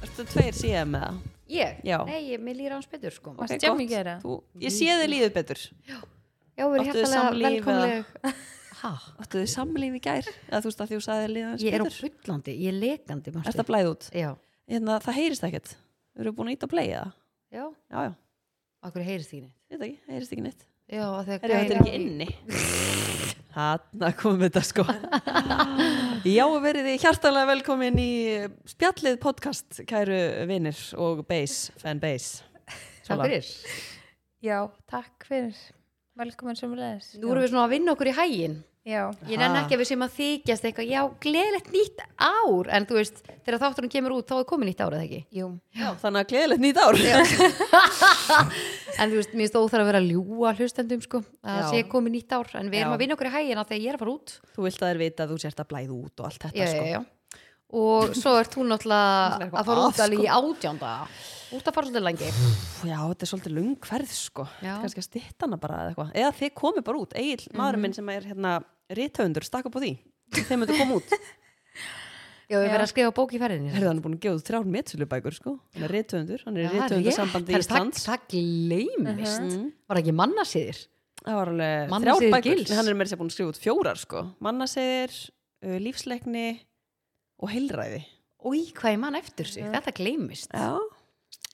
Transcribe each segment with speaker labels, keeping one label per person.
Speaker 1: 2002 sé ég með það
Speaker 2: Ég?
Speaker 1: Já.
Speaker 2: Nei, ég, mér líður hans betur sko
Speaker 1: Ok,
Speaker 2: okay.
Speaker 3: Varstu jafn mikið
Speaker 1: gott.
Speaker 3: þeirra?
Speaker 1: Þú, ég sé þið lífið betur
Speaker 2: Já, við
Speaker 1: Áttu
Speaker 2: erum
Speaker 1: þið
Speaker 2: hjartalega
Speaker 1: samlíf
Speaker 2: velkomleg Hæ?
Speaker 1: Áttu þið samlíf í gær eða þú veist að því þú sagði þið lífið
Speaker 2: Ég er á
Speaker 1: betur
Speaker 2: fullandi, ég er lekandi
Speaker 1: Er
Speaker 2: manstu?
Speaker 1: það blæð út?
Speaker 2: Já,
Speaker 1: Hérna, það heyrist ekkert Þú eru búin að íta að playa það?
Speaker 2: já,
Speaker 1: Já, já,
Speaker 2: okkur heyrist þínu
Speaker 1: ég veit ekki, heyrist ekki neitt
Speaker 2: Já, af því að
Speaker 1: Er þetta er ekki inni? Hanna komum við þetta sko Já, verið þið hjartalega velkomin í spjallið podcast kæru vinnir og base, fanbase
Speaker 2: Takk fyrir
Speaker 3: Já, takk fyrir. Velkomin sem leðis.
Speaker 2: Nú erum við svona að vinna okkur í hægin
Speaker 3: Já.
Speaker 2: Ég nenn
Speaker 1: Ha.
Speaker 2: ekki að við sem að þykjast eitthvað Já, gleðilegt nýtt ár En þú veist, þegar þátturinn kemur út þá er komið nýtt ár eða ekki
Speaker 3: Jú.
Speaker 1: Já, þannig að gleðilegt nýtt ár
Speaker 2: En þú veist, mér stóð þar að vera að ljúa hlustendum sko að
Speaker 1: Já.
Speaker 2: sé komið nýtt ár En við erum
Speaker 1: Já.
Speaker 2: að vinna okkur í hægin af því að ég er að fara út
Speaker 1: Þú vilt að þér vita að þú sért að blæða út og allt þetta
Speaker 2: já,
Speaker 1: sko
Speaker 2: já, já. og svo ert þú náttúrulega
Speaker 1: eitthvað
Speaker 2: að sko. fara
Speaker 1: að,
Speaker 2: út alveg í átjánda út að fara svolítið lengi
Speaker 1: Pff, Já, þetta er svolítið lungverð sko
Speaker 2: Já.
Speaker 1: Þetta er kannski að stytta hana bara eða eitthvað Eða þið komið bara út, Egil, maðurinn minn sem er hérna rithöfundur, stakk upp á því Þeir myndu koma út
Speaker 2: já, við
Speaker 3: Já.
Speaker 2: verðum að skrifa bók í ferðinni
Speaker 1: Herðu hann er búin að gefa út þrjár metsölubækur sko Hann er rithöfundur, hann er
Speaker 2: Já,
Speaker 1: rithöfundarsambandi
Speaker 2: rétt.
Speaker 1: Íslands
Speaker 2: það, það gleymist
Speaker 1: Mhm.
Speaker 2: var ekki mannasýðir
Speaker 1: Það var alveg
Speaker 2: Mannasiðir
Speaker 1: þrjár bækur
Speaker 2: Gils.
Speaker 1: Nei, Hann er meira sér búin að skrifa út fjórar sko Mannasegir, uh, lífsleikni og heilræði
Speaker 2: Új, hvað ég mann eftir sig, þetta gleymist
Speaker 1: Já,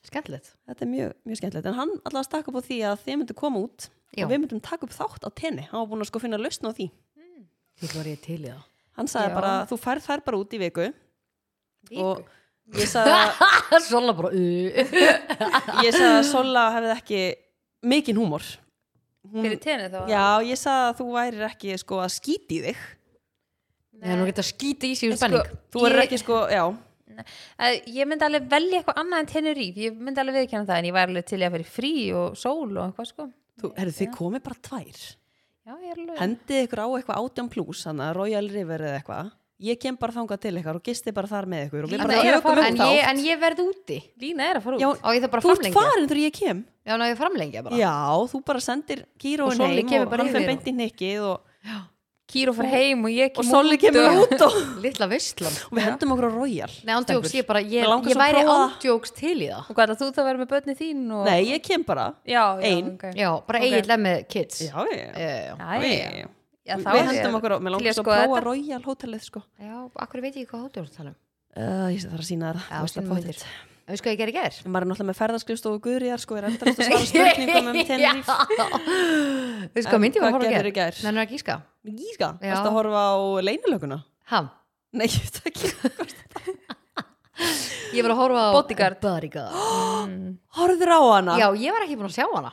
Speaker 2: skemmtilegt
Speaker 1: þetta er mjög, mjög skemmtilegt En hann allavega stakk upp á því að þið myndu koma út
Speaker 2: Já.
Speaker 1: Og við myndum taka upp þátt á tenni Hann var búin að sko finna lausn á því
Speaker 2: því var ég til í það
Speaker 1: Hann sagði
Speaker 3: Já.
Speaker 1: bara, þú færð þær bara út í viku
Speaker 2: Viku?
Speaker 1: Og ég sagði að,
Speaker 2: Sola bara uh.
Speaker 1: ég sagði að Sola hefði ekki mikinn húmor Hún,
Speaker 3: Fyrir tenni þá?
Speaker 1: Já, ég sagði að þú værir ekki sko að skíti þig
Speaker 2: Nei, nú geta skýti í sig úr
Speaker 3: En sko,
Speaker 2: spenning
Speaker 1: Þú verður
Speaker 3: Ég-
Speaker 1: ekki sko, já
Speaker 3: Að Ég myndi alveg velja eitthvað annað en Tenerife. Ég myndi alveg viðkjanna það en ég var alveg til í að fyrir frí og sól og eitthvað sko.
Speaker 1: þú, Herðu, þið komið bara tvær
Speaker 3: Já, ég er alveg.
Speaker 1: Hendið ykkur á eitthvað átján plus Þannig að Royal River eða eitthvað Ég kem bara þangað til ykkar og gisti bara þar með ykkur og við
Speaker 3: Lína
Speaker 1: bara
Speaker 3: er að
Speaker 1: tökum
Speaker 3: fara-
Speaker 1: um
Speaker 2: en,
Speaker 1: þá
Speaker 2: ég, en ég verð úti
Speaker 3: Lína er að fara út.
Speaker 1: Já,
Speaker 2: og ég þarf bara að
Speaker 1: Þú ert
Speaker 2: framlengja
Speaker 1: farin þegar ég kem
Speaker 2: já, ná ég framlengja bara
Speaker 1: Já, þú bara sendir
Speaker 2: Og
Speaker 1: kíróin
Speaker 2: Solli
Speaker 1: heim
Speaker 2: kemur
Speaker 1: og
Speaker 2: bara
Speaker 1: hann
Speaker 2: yfir
Speaker 1: fyrir
Speaker 2: og-
Speaker 1: beint í nikkið og,
Speaker 3: Kýr og fara heim og ég
Speaker 1: og
Speaker 3: kem
Speaker 1: Solli kemur
Speaker 3: og-
Speaker 1: út og,
Speaker 2: litla veistlan
Speaker 1: og við hendum okkur á Royal
Speaker 2: Nei, ándjóks,
Speaker 1: Stelpur.
Speaker 2: ég bara, ég,
Speaker 1: Mig langar
Speaker 2: ég
Speaker 1: svo að
Speaker 2: væri
Speaker 1: prófa það.
Speaker 2: ándjóks til í það
Speaker 3: Og hvað er þú það að vera með börni þín og...
Speaker 1: Nei, ég kem bara
Speaker 3: Já, já,
Speaker 1: Ein.
Speaker 3: ok.
Speaker 2: Já, bara
Speaker 3: Ok.
Speaker 2: okay. eiginlega með kids
Speaker 1: Já, já, já.
Speaker 2: Eh,
Speaker 3: Æ,
Speaker 1: já, já.
Speaker 3: já, þá
Speaker 1: Við
Speaker 3: er ég
Speaker 1: hendum okkur á, mér
Speaker 3: til í
Speaker 1: langar
Speaker 3: að
Speaker 1: svo
Speaker 3: skoða
Speaker 1: að prófa
Speaker 3: þetta.
Speaker 1: Royal hótelið sko
Speaker 2: Já, akkur veit ég ekki hvað hóttjóður tala um
Speaker 1: Uh, ég sé það að sína þér þú veist
Speaker 2: Já,
Speaker 1: það
Speaker 2: sýnum
Speaker 1: pottitt.
Speaker 2: En Við sko ég gerði ger
Speaker 1: maður er náttúrulega með ferðarskrifstofu guðriðar sko, er endast að svara spurningum um Tenerife
Speaker 2: Við sko
Speaker 1: En
Speaker 2: myndi ég
Speaker 1: hvað
Speaker 2: að horfa
Speaker 1: gerðirðu
Speaker 2: að
Speaker 1: í gær?
Speaker 2: ger Nennar að gíska
Speaker 1: Gíska,
Speaker 2: Já.
Speaker 1: varst að horfa á leynilöguna?
Speaker 2: Ha,
Speaker 1: Nei, ég veit það ekki
Speaker 2: ég var að horfa á
Speaker 3: Bodyguard.
Speaker 2: Bodyguard
Speaker 1: Horður á hana?
Speaker 2: Já, ég var ekki búin að sjá hana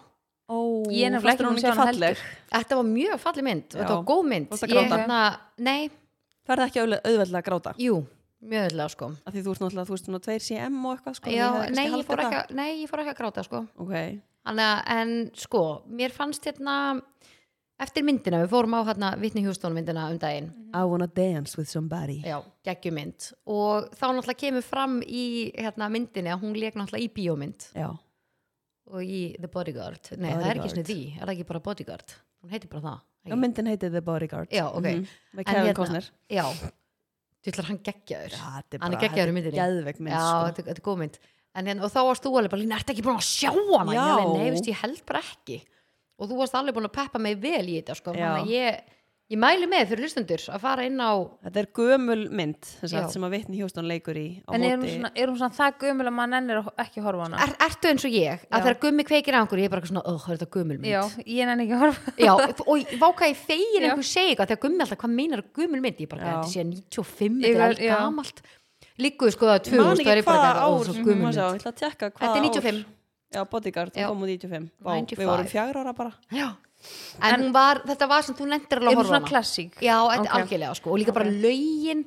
Speaker 1: Ó,
Speaker 3: Ég er
Speaker 1: fannst
Speaker 3: nefnilega ekki
Speaker 1: þér
Speaker 3: búin að sjá hana heldur.
Speaker 2: Þetta var mjög falli mynd og
Speaker 1: Já.
Speaker 2: Þetta var góð mynd
Speaker 1: Varstu að
Speaker 2: Ég
Speaker 1: gráta?
Speaker 2: hérna, nei,
Speaker 1: Ferð ekki auðveld- auðveldlega að gráta
Speaker 2: jú, mjög öðlega sko
Speaker 1: af því þú ert náttúrulega, þú ert svona 2 cm og eitthvað sko,
Speaker 2: Já, nei, ég fór ekki að- nei, ég fór ekki að gráta sko
Speaker 1: okay.
Speaker 2: Hanna, en sko, mér fannst hérna eftir myndina, við fórum á hérna Vittni Hjústón myndina um daginn
Speaker 1: I wanna dance with somebody
Speaker 2: já, geggjumynd og þá náttúrulega kemur fram í hérna myndinni að hún leik náttúrulega í bíómynd
Speaker 1: Já,
Speaker 2: og í The Bodyguard, nei það er ekki
Speaker 1: Bodyguard.
Speaker 2: svona því er það ekki bara Bodyguard, hún heitir bara það
Speaker 1: Já myndin heiti The Bodyguard
Speaker 2: Já, ok.
Speaker 1: Mhm, Með
Speaker 2: En
Speaker 1: Kevin
Speaker 2: hérna-
Speaker 1: Costner
Speaker 2: já, þú ætlar hann geggjaður
Speaker 1: Já, þetta
Speaker 2: Hann er
Speaker 1: bara-
Speaker 2: geggjaður
Speaker 1: þetta
Speaker 2: í myndinni.
Speaker 1: geðveik mynd,
Speaker 2: já,
Speaker 1: sko.
Speaker 2: þetta, þetta er góð mynd en, en, og þá varst þú alveg bara, Lína, ertu ekki búin að sjá hana Ég
Speaker 1: Já.
Speaker 2: alveg, nei, veist, ég held bara ekki og þú varst alveg búin að peppa mig vel í þetta sko,
Speaker 1: Já.
Speaker 2: þannig að ég, ég mæli með fyrir hlustundur að fara inn á
Speaker 1: Þetta er gömul mynd sem,
Speaker 2: Já.
Speaker 1: sagt, sem að vitni Hjóstón leikur í á
Speaker 3: En er hún,
Speaker 1: móti-
Speaker 3: svona, er hún svona það gömul að mann ennir ekki að horfa á hana?
Speaker 2: er, ertu eins og ég, að
Speaker 3: Já.
Speaker 2: þegar gummi kveikir á einhverju, ég er bara eitthvað svona, oh, er þetta gummul mynd
Speaker 3: Já, ég nenni ekki að horfa.
Speaker 2: Já, og váka ég fegin
Speaker 3: Já.
Speaker 2: einhver segi eitthvað, þegar gummi alltaf, hvað meinar gummul mynd ég er bara,
Speaker 1: Já.
Speaker 2: þetta sé 95,
Speaker 3: Ég
Speaker 2: þetta er
Speaker 3: var-
Speaker 2: allt
Speaker 3: já.
Speaker 2: gamalt líkuðu sko það
Speaker 1: Ég man
Speaker 2: 2000, það er
Speaker 1: ekki
Speaker 2: ég bara
Speaker 1: hvaða
Speaker 2: eitthvað, ó,
Speaker 1: ár
Speaker 2: svo
Speaker 1: Má
Speaker 2: gummul
Speaker 1: sjá, ég
Speaker 2: mynd
Speaker 1: ætla að tekka hvaða
Speaker 2: Þetta er
Speaker 1: ár.
Speaker 2: 95.
Speaker 1: Já, Bodyguard,
Speaker 2: Já.
Speaker 1: hún kom út 95 Vá,
Speaker 2: 95.
Speaker 1: Við vorum fjagur ára bara
Speaker 2: Já. En, hún var, þetta var sem þú lendir alveg
Speaker 3: Er
Speaker 2: að
Speaker 3: hún
Speaker 2: horfa á
Speaker 3: svona
Speaker 2: hana.
Speaker 3: klassík?
Speaker 2: Já, þetta
Speaker 3: Ok.
Speaker 2: er algjörlega sko og líka bara lögin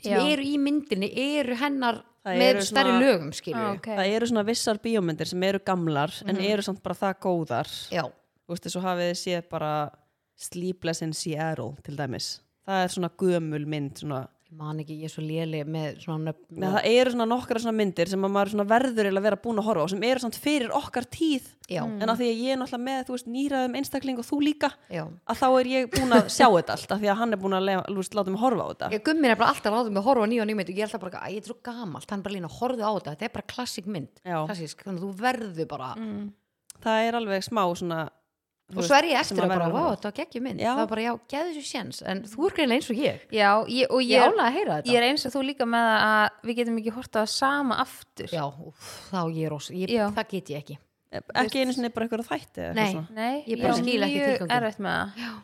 Speaker 2: sem
Speaker 3: Já.
Speaker 2: eru í myndinni eru hennar
Speaker 1: Það
Speaker 2: með
Speaker 1: eru
Speaker 2: stærri
Speaker 1: svona-
Speaker 2: lögum skilju
Speaker 3: Ah, ok.
Speaker 1: Það eru svona vissar bíómyndir sem eru gamlar en eru samt bara það góðar
Speaker 2: Mhm. Já,
Speaker 1: Þú veist, þessu hafið þið séð bara Sleepless in Seattle til dæmis Það er svona gömul mynd, svona
Speaker 2: Ég man ekki, ég er svo léli með svona nöfn
Speaker 1: Nei, það eru svona nokkra svona myndir sem að maður svona verður eiginlega að vera búin að horfa á sem eru samt fyrir okkar tíð
Speaker 2: Já,
Speaker 1: en að því að ég er náttúrulega með, þú veist, nýraðum einstakling og þú líka,
Speaker 2: já
Speaker 1: að þá er ég búin að sjá þetta allt, af því að hann er búin að le- þú veist, láta mig horfa á þetta
Speaker 2: Ég gummi er bara alltaf að láta mig horfa á nýja og nýja mynd og ég er alltaf bara, æ, ég er svo gamalt, hann bara lína horfðu á þetta, þetta er bara klassik mynd
Speaker 1: Já.
Speaker 2: klassísk, þannig að þú verður bara
Speaker 1: það er alveg smá svona þú
Speaker 2: og
Speaker 1: veist,
Speaker 2: svo er ég
Speaker 1: sem
Speaker 2: eftir að
Speaker 1: maður
Speaker 2: bara,
Speaker 1: verður
Speaker 2: vá,
Speaker 1: horfa á.
Speaker 2: þetta var geggjum mynd
Speaker 1: Já.
Speaker 2: þá bara, já, geðu þessu séns, en þú er greinlega eins og ég
Speaker 3: Já, ég, og
Speaker 2: Ég
Speaker 3: ég,
Speaker 2: er ánægð að heyra þetta
Speaker 3: ég er eins og þú líka með að við getum ekki horta það sama aftur
Speaker 2: Já, úf, þá ég er ós, ég,
Speaker 3: Já.
Speaker 2: það get ég ekki
Speaker 1: e-, ekki einu sinni bara einhverja þætti eða eitthvað
Speaker 2: Nei.
Speaker 1: svona.
Speaker 3: Nei,
Speaker 2: Ég bara
Speaker 3: á
Speaker 2: skil ekki
Speaker 3: mjög
Speaker 2: tilganginn.
Speaker 3: erfitt með það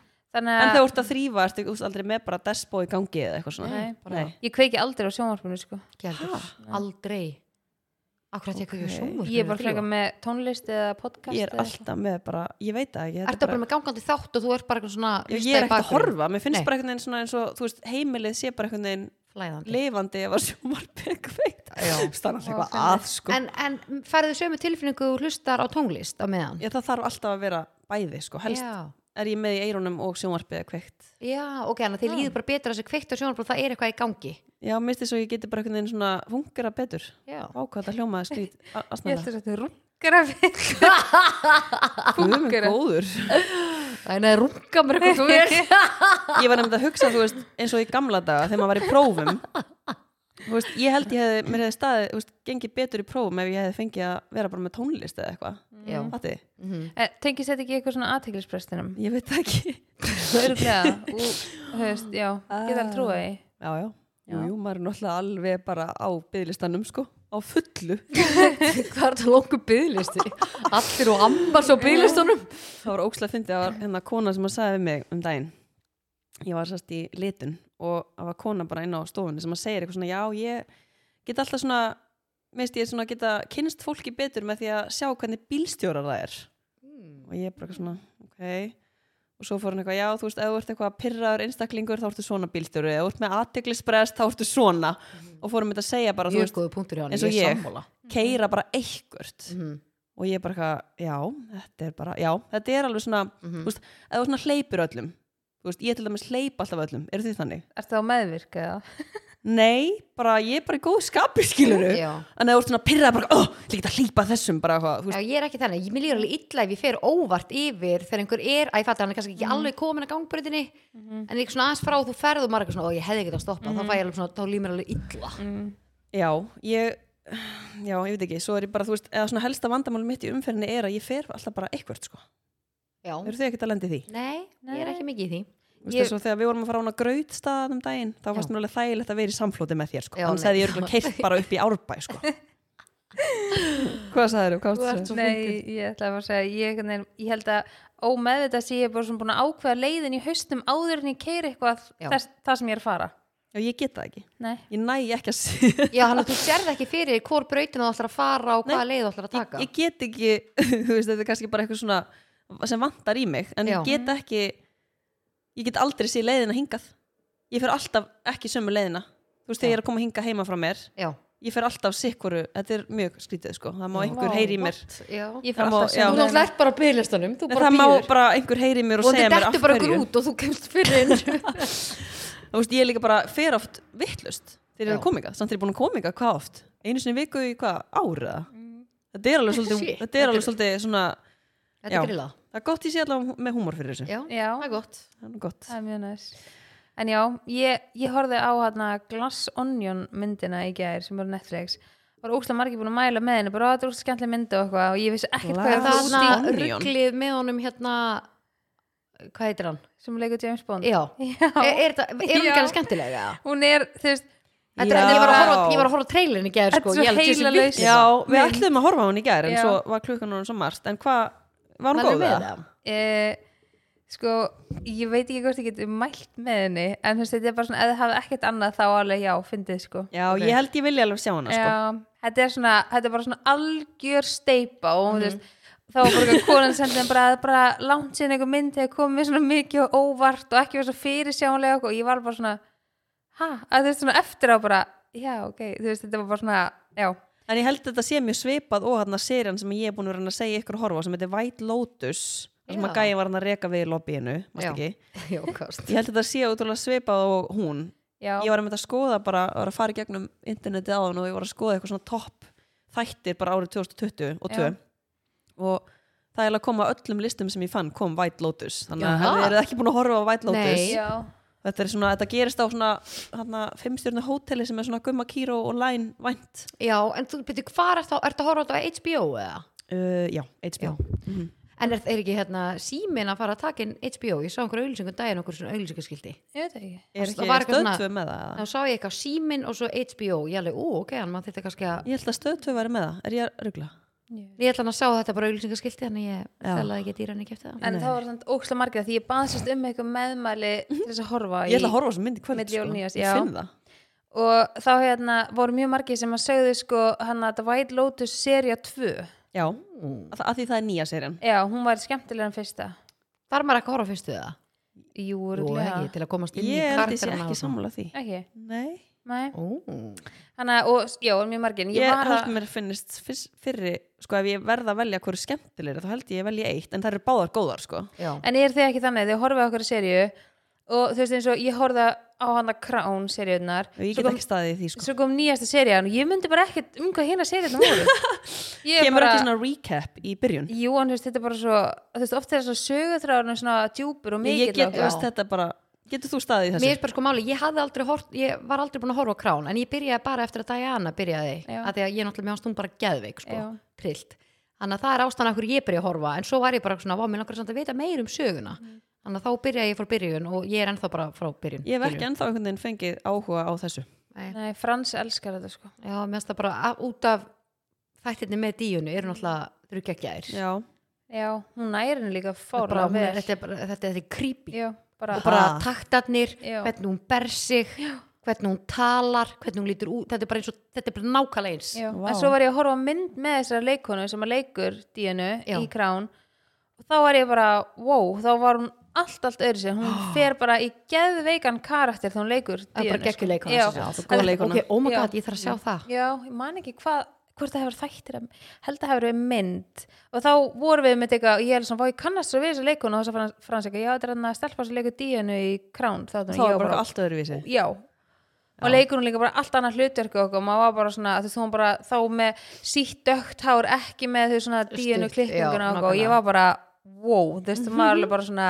Speaker 1: en
Speaker 3: Þannig að
Speaker 1: þegar þú ert að þrýfa, ertu þú veist, aldrei með bara despo í gangi eða eitthvað svona
Speaker 3: Nei,
Speaker 2: bara-
Speaker 3: ég kveiki aldrei á sjónvarpinu sko.
Speaker 2: Gjaldur, aldrei Akkurat ég ekki
Speaker 1: Ok.
Speaker 2: sjómur
Speaker 3: Ég er bara frekar með tónlist eða podcast
Speaker 1: ég er
Speaker 3: eða eitthvað.
Speaker 1: alltaf með bara, ég veit það ekki þetta
Speaker 2: Ertu bara með gangandi þátt og þú ert bara eitthvað svona
Speaker 1: Ég, ég er
Speaker 2: rista í
Speaker 1: ekkert að
Speaker 2: bakgrunn,
Speaker 1: horfa, mér finnst
Speaker 2: Nei.
Speaker 1: bara einhvern veginn svona eins og, þú veist, heimilið sé bara einhvern veginn
Speaker 2: Flæðandi
Speaker 1: lifandi ef að sjómarpið kveikt stannar
Speaker 3: Já,
Speaker 1: eitthvað
Speaker 3: stemmer.
Speaker 1: að sko
Speaker 2: En, en færðu sömu tilfinningu og hlustar á tónlist á meðan?
Speaker 1: ég, það þarf alltaf að vera bæði sko helst
Speaker 2: Já,
Speaker 1: er ég með í eirunum og sjómarpið er kveikt
Speaker 2: já ok, þannig að þið líður bara betur að þessi kveikt á sjónarbrot það er eitthvað í gangi
Speaker 1: já, misti svo ég geti bara einhvern veginn svona fungera betur
Speaker 2: Já,
Speaker 1: ákvæða hljómaði skrít
Speaker 3: Ég ætla
Speaker 1: aðstæða
Speaker 3: að þetta er rungar af
Speaker 1: Guðmund
Speaker 3: fungera.
Speaker 1: góður
Speaker 2: þannig að runga mér eitthvað svo vel
Speaker 1: ég var nefnd að hugsa, þú veist, eins og í gamla daga þegar maður var í prófum Þú veist, ég held ég hefði, mér hefði staðið þú veist, gengið betur í prófum ef ég hefði fengið að vera bara með tónlist eða eitthvað
Speaker 2: Já,
Speaker 1: Fatti,
Speaker 2: Mhm.
Speaker 3: Eh, Tengist þetta ekki eitthvað svona aðteglisprestinum?
Speaker 1: ég veit það ekki
Speaker 3: Þú eru gleða og þú veist, já, geta
Speaker 2: Ah.
Speaker 3: alveg trúið því
Speaker 1: já, já, jú, jú, maður er náttúrulega alveg bara á byggðlistanum sko, á fullu
Speaker 2: hvað er þetta longu byðlisti? Allir og ambas á byðlistunum
Speaker 1: það var ókslega fyndið, það var hérna kona sem að sagði við mig um daginn ég var sérst í litun og það var kona bara inn á stofunni sem að segja eitthvað svona, já ég get alltaf svona meðst ég svona geta kynst fólki betur með því að sjá hvernig bílstjórar það er
Speaker 2: Mm.
Speaker 1: og ég bara eitthvað svona, ok og svo fór hann eitthvað, já þú veist, ef þú ert eitthvað pirraður einstaklingur þá ertu svona bílstjóri ef þú ert með aðteglisbrest þá ertu svona og fórum þetta að segja bara, þú
Speaker 2: Mjög
Speaker 1: veist,
Speaker 2: góðu punktur hjá hann,
Speaker 1: eins og
Speaker 2: ég er
Speaker 1: ég.
Speaker 2: sammála
Speaker 1: keira Mhm. bara eitthvert
Speaker 2: Mhm,
Speaker 1: og ég bara eitthvað, já, þetta er bara já, þetta er alveg svona,
Speaker 2: mhm.
Speaker 1: Þú veist, eða þú svona hleypir öllum Þú veist, ég til dæmis hleyp alltaf öllum, eru þið þannig?
Speaker 3: Ertu það á meðvirk eða?
Speaker 1: Nei, bara ég er bara í góðu skapi skiluru
Speaker 2: Já.
Speaker 1: en eða þú ert svona pyrrað bara, oh, ég get að hleypa þessum bara, hvað, þú
Speaker 2: Já,
Speaker 1: veist,
Speaker 2: ég er ekki þannig, ég mér líður alveg illa ef ég fer óvart yfir þegar einhver er, að ég fattar hann er kannski
Speaker 1: Mhm.
Speaker 2: ekki alveg komin að gangbröðinni en ég er svona aðeins frá og þú ferð og maður er eitthvað svona, ó ég hefði ekki að stoppa, þá fæ
Speaker 1: Mhm.
Speaker 2: ég alveg svona, þá líður mér alveg illa
Speaker 1: Mm. já, ég já, ég veit ekki, svo er ég bara, þú veist eða svona helsta vandamál mitt í umferðinni er að ég fer alltaf bara eitthvert, sko,
Speaker 2: Já,
Speaker 1: eru þið ekkert að lendi því?
Speaker 2: nei, ég er
Speaker 3: Nei.
Speaker 2: ekki mikið í því
Speaker 1: Þú veist,
Speaker 3: Ég-
Speaker 1: eins og þegar við vorum að fara á hana graut staðan um daginn, þá fannst mér alveg þægilegt að vera í samflóti með þér, sko,
Speaker 2: Já,
Speaker 1: annars
Speaker 2: nei.
Speaker 1: hefði ég örugglega keyrt bara upp í Árbæ, sko. Hvað sagðirðu? Hvað varstu
Speaker 2: Þú
Speaker 1: að segja?
Speaker 2: ert Svo
Speaker 3: Nei, ég ætla bara að segja, ég, einhvern veginn- ég held að ómeðvitað sé ég bara svona búin að ákveða leiðin í haustum áður en ég keiri eitthvað
Speaker 2: Já.
Speaker 3: þess, það sem ég er að fara
Speaker 1: Já, ég get það ekki.
Speaker 3: Nei,
Speaker 1: Ég næ ekki að sé
Speaker 2: Já, hann að þú sérð ekki fyrir hvor brautina þú ætlar að fara og hvaða leið þú ætlar að taka
Speaker 1: ég get ekki, þú veist, þetta er kannski bara eitthvað svona sem vantar í mig, en
Speaker 2: Já.
Speaker 1: ég get ekki ég get aldrei sé leiðina hingað ég fer alltaf ekki sömu leiðina þú veist, þegar ég er að koma hinga heima frá mér
Speaker 2: Já,
Speaker 1: ég fer alltaf sikkoru, þetta er mjög skrítið sko, það má
Speaker 2: Já.
Speaker 1: einhver
Speaker 3: Vá,
Speaker 1: heyri í mér
Speaker 2: já
Speaker 1: Það
Speaker 3: ég fyrir
Speaker 1: má-
Speaker 3: alltaf
Speaker 1: já.
Speaker 2: Þú náttúrulega
Speaker 3: sömu leiðina.
Speaker 2: ert bara á byðlistunum, þú
Speaker 1: Nei,
Speaker 2: bara
Speaker 1: það má
Speaker 2: býður
Speaker 1: bara einhver heyri í mér og,
Speaker 2: og
Speaker 1: segja
Speaker 2: þetta
Speaker 1: mér
Speaker 2: ertu
Speaker 1: af
Speaker 2: bara
Speaker 1: hverju
Speaker 2: grút og þú kemst fyrir inn
Speaker 1: þú veist, ég líka bara fer oft vittlust þegar ég er
Speaker 2: Já.
Speaker 1: að koma hingað, samt þegar ég er búin að koma hingað hvað oft, einu sinni í viku í hvað ára þetta er alveg svolítið,
Speaker 2: Shit.
Speaker 1: þetta er alveg svolítið svona,
Speaker 2: Þetta
Speaker 1: Já.
Speaker 2: er grillað,
Speaker 1: það er gott ég sé allavega með húmor fyrir þessu,
Speaker 2: já,
Speaker 3: Já,
Speaker 2: það er gott
Speaker 1: það er nú gott
Speaker 3: það er mjög næs En já, ég, ég horfði á hana Glass Onion myndina í gær sem var á Netflix var óslega margir búin að mæla með henni bara "Ó, þetta er óslega skemmtileg myndi og eitthvað og ég vissi ekkert hvað
Speaker 1: Glass
Speaker 2: Það
Speaker 3: er
Speaker 2: er
Speaker 1: Glass
Speaker 3: það
Speaker 2: svona
Speaker 1: Onion.
Speaker 2: rugglið með honum hérna Hvað heitir hann?
Speaker 3: sem leikur James Bond
Speaker 2: Já,
Speaker 3: Já.
Speaker 1: E,
Speaker 2: Er, er, þetta- er hún
Speaker 3: Já.
Speaker 2: ekki alveg skemmtilega?
Speaker 3: Hún er, þú veist,
Speaker 2: Þetta er, ég, var að
Speaker 1: Já.
Speaker 2: horfa, ég var að horfa á trailin í gerð
Speaker 3: Þetta
Speaker 2: sko.
Speaker 3: er svo
Speaker 2: ég held ég sé
Speaker 3: heilalaus.
Speaker 2: vitlaus.
Speaker 1: Já, við ætlum að horfa á hún í gær en
Speaker 3: Já.
Speaker 1: svo var klukkan hún svo margt en hvað, var hún
Speaker 2: Mælum
Speaker 1: góð
Speaker 2: við
Speaker 1: með það?
Speaker 2: það?
Speaker 3: Eh, sko, ég veit ekki hvort ég geti mælt með henni en þú veist, þetta er bara svona, ef þið hafið ekkert annað þá alveg já, fyndið sko
Speaker 1: Já, ég held ég vilja alveg sjá hana sko.
Speaker 3: Já, þetta er svona, þetta er bara svona algjör steipa og
Speaker 1: Mhm.
Speaker 3: þú veist þá var bara eitthvað konan sem þeim bara, bara langt síðan einhver mynd þegar komið svona mikið og óvart og ekki var svo fyrirsjáanlega og eitthvað. ég var bara svona, ha, að þú veist svona eftir á bara, já, ok, þú veist þetta var bara svona, já,
Speaker 1: En ég held þetta sé mjög svipað og hann að serían sem ég er búin að vera að segja ykkur að horfa á sem heitir White Lotus þar sem
Speaker 2: Já.
Speaker 1: að gæin var hann að reka við í lobbyinu, mást
Speaker 2: Já.
Speaker 1: ekki
Speaker 2: Já, kast
Speaker 1: Ég held þetta sé útrúlega svipað og hún
Speaker 3: já,
Speaker 1: ég var einmitt að skoða bara, var að fara í gegnum internetið á hann og ég var að skoða eitthvað svona topp þættir bara árið 2020 og 2
Speaker 3: Já.
Speaker 1: og það er eiginlega að koma öllum listum sem ég fann kom White Lotus þannig að
Speaker 2: Jaha.
Speaker 1: ef þið eru ekki búin að horfa á White Lotus
Speaker 2: Nei.
Speaker 3: já,
Speaker 1: þetta, er svona, þetta gerist á svona hana, fimmstjörnu hóteli sem er svona Gumma Kíró og Line vænt
Speaker 2: já, en þú betur hvað er þá, ertu að horfa á þetta á HBO eða?
Speaker 1: uh, já, HBO
Speaker 2: Já. En er, er ekki hérna símin að fara að taka inn HBO? Ég sá einhverja auðlýsingu daginn okkur svona auðlýsingaskildi.
Speaker 3: ég veit ekki
Speaker 1: er
Speaker 2: Það var
Speaker 1: ekki
Speaker 2: eitthvað
Speaker 1: stöðtöð með það eða?
Speaker 2: Þá sá ég eitthvað símin og svo HBO. Ég alveg, ú, ok, hann maður þetta kannski að...
Speaker 1: ég held að stöðtöð væri með það, er ég að ruggla?
Speaker 2: Ég ætla hann að sá þetta bara auðlýsingaskildi, þannig ég
Speaker 1: Já.
Speaker 2: fælaði ekki dýran ekki eftir það.
Speaker 3: en það var svona ókslega margir því ég baðsist um eitthvað meðmæli til þess að horfa
Speaker 1: ég ætla að horfa á sem myndi
Speaker 3: Milli
Speaker 1: kvöld sko.
Speaker 3: og nýjas,
Speaker 1: ég
Speaker 3: já.
Speaker 1: finn það
Speaker 3: og þá hérna voru mjög margir sem að segðu sko hann að The White Lotus seria 2
Speaker 1: já, að, að því það er nýja serien
Speaker 3: já, hún var skemmtilega en fyrsta
Speaker 2: Þarf maður ekki að horfa á fyrstu eða?
Speaker 3: jú,
Speaker 2: Jú,
Speaker 3: örugglega.
Speaker 2: ekki, til að komast inn í
Speaker 1: ég er held ég sé
Speaker 2: karakterana
Speaker 1: ekki
Speaker 2: og svona.
Speaker 1: sammála því
Speaker 3: ekki,
Speaker 1: nei
Speaker 3: nei
Speaker 2: Ú.
Speaker 3: hann að, og já, voru mjög margir en
Speaker 1: ég,
Speaker 3: ég var
Speaker 1: held
Speaker 3: að,
Speaker 1: mér finnist fyrst, fyrri sko ef ég verða að velja hverju skemmtilegri þá held ég að velja eitt en það eru báðar góðar sko
Speaker 2: Já.
Speaker 3: en er þið ekki þannig, þið horfið okkur serju og þú veist eins og ég horfið á hann að Crown seriunar
Speaker 1: og ég
Speaker 3: svo
Speaker 1: get
Speaker 3: kom,
Speaker 1: ekki staðið í því sko
Speaker 3: svo kom nýjasta seriðan og ég myndi bara ekkert um hvað hérna seriðan voru Ég er
Speaker 1: kemur
Speaker 3: bara-
Speaker 1: ekki svona recap í byrjun
Speaker 3: Jú, en þú veist, þetta er bara svo þú veist, oft er það svo sögutráðurinn svona djúpur og mikill
Speaker 1: ég get,
Speaker 3: og-
Speaker 1: þú veist, þetta bara getur þú staðið í
Speaker 2: Mér
Speaker 1: þessu?
Speaker 2: er bara sko máli, ég, hafði aldrei hort, ég var aldrei búin að horfa á krán en ég byrjaði bara eftir að Diana byrjaði
Speaker 3: Já.
Speaker 2: að því að ég náttúrulega með hans hún bara geðveik sko,
Speaker 3: Já.
Speaker 2: trillt þannig að það er ástæðan af hverju ég byrja að horfa en svo var ég bara svona, vá, mér langar samt að vita meir um söguna þannig að þá byrjaði ég frá byrjun og ég er ennþá bara frá byrjun
Speaker 1: ég hef ekki ennþá einhvern veginn fengið áhuga á þessu
Speaker 2: Nei.
Speaker 3: Nei, Frans elskar þetta sko
Speaker 2: Já, mér finnst það bara að, út af þættirni með díunu eru náttúrulega þruggjaggjær
Speaker 1: já,
Speaker 3: Já, hún næri henni líka fára
Speaker 2: þetta, er- þetta, er bara- þetta, þetta er creepy
Speaker 3: Já, bara,
Speaker 2: og bara
Speaker 1: Ha.
Speaker 2: taktarnir,
Speaker 3: Já.
Speaker 2: hvernig hún ber sig hvernig hún talar, hvernig hún lítur út þetta er bara, eins og, þetta er bara nákvæmlega eins
Speaker 3: já.
Speaker 1: Vá.
Speaker 3: En svo var ég að horfa á mynd með þessara leikonu sem að leikur díinu
Speaker 2: Já.
Speaker 3: í krán og þá var ég bara, wow, þá var hún allt, allt öðru sér, hún fer bara í geðveikan karakter þá hún leikur
Speaker 2: Það er bara
Speaker 3: díunu
Speaker 2: geggjur leikona
Speaker 3: Já.
Speaker 2: sem sagt.
Speaker 1: góð leikona.
Speaker 2: Ok, oh my
Speaker 3: Já.
Speaker 2: god, ég þarf að sjá það
Speaker 3: Já, ég man ekki hvað hvort það hefur þættir, að- held að hefur verið mynd og þá vorum við með þetta og ég er svona, vá, ég kannast svo við þessu leikun og þess að frans ekki, já, þetta er hann að stelpa sem leikur díjanu í krán, þá
Speaker 1: þá er bara allt öðruvísi
Speaker 3: já, og leikur hún líka bara allt annað hlutverku okkur, maður var bara svona þú veist, hún bara þá með sítt dögt hár ekki með þau svona díjanu
Speaker 2: Stutt,
Speaker 3: klippinguna
Speaker 2: já,
Speaker 3: okkur, og ég
Speaker 2: nákvæmlega.
Speaker 3: var bara wow, þú veist,
Speaker 1: Mhm.
Speaker 3: maður alveg bara svona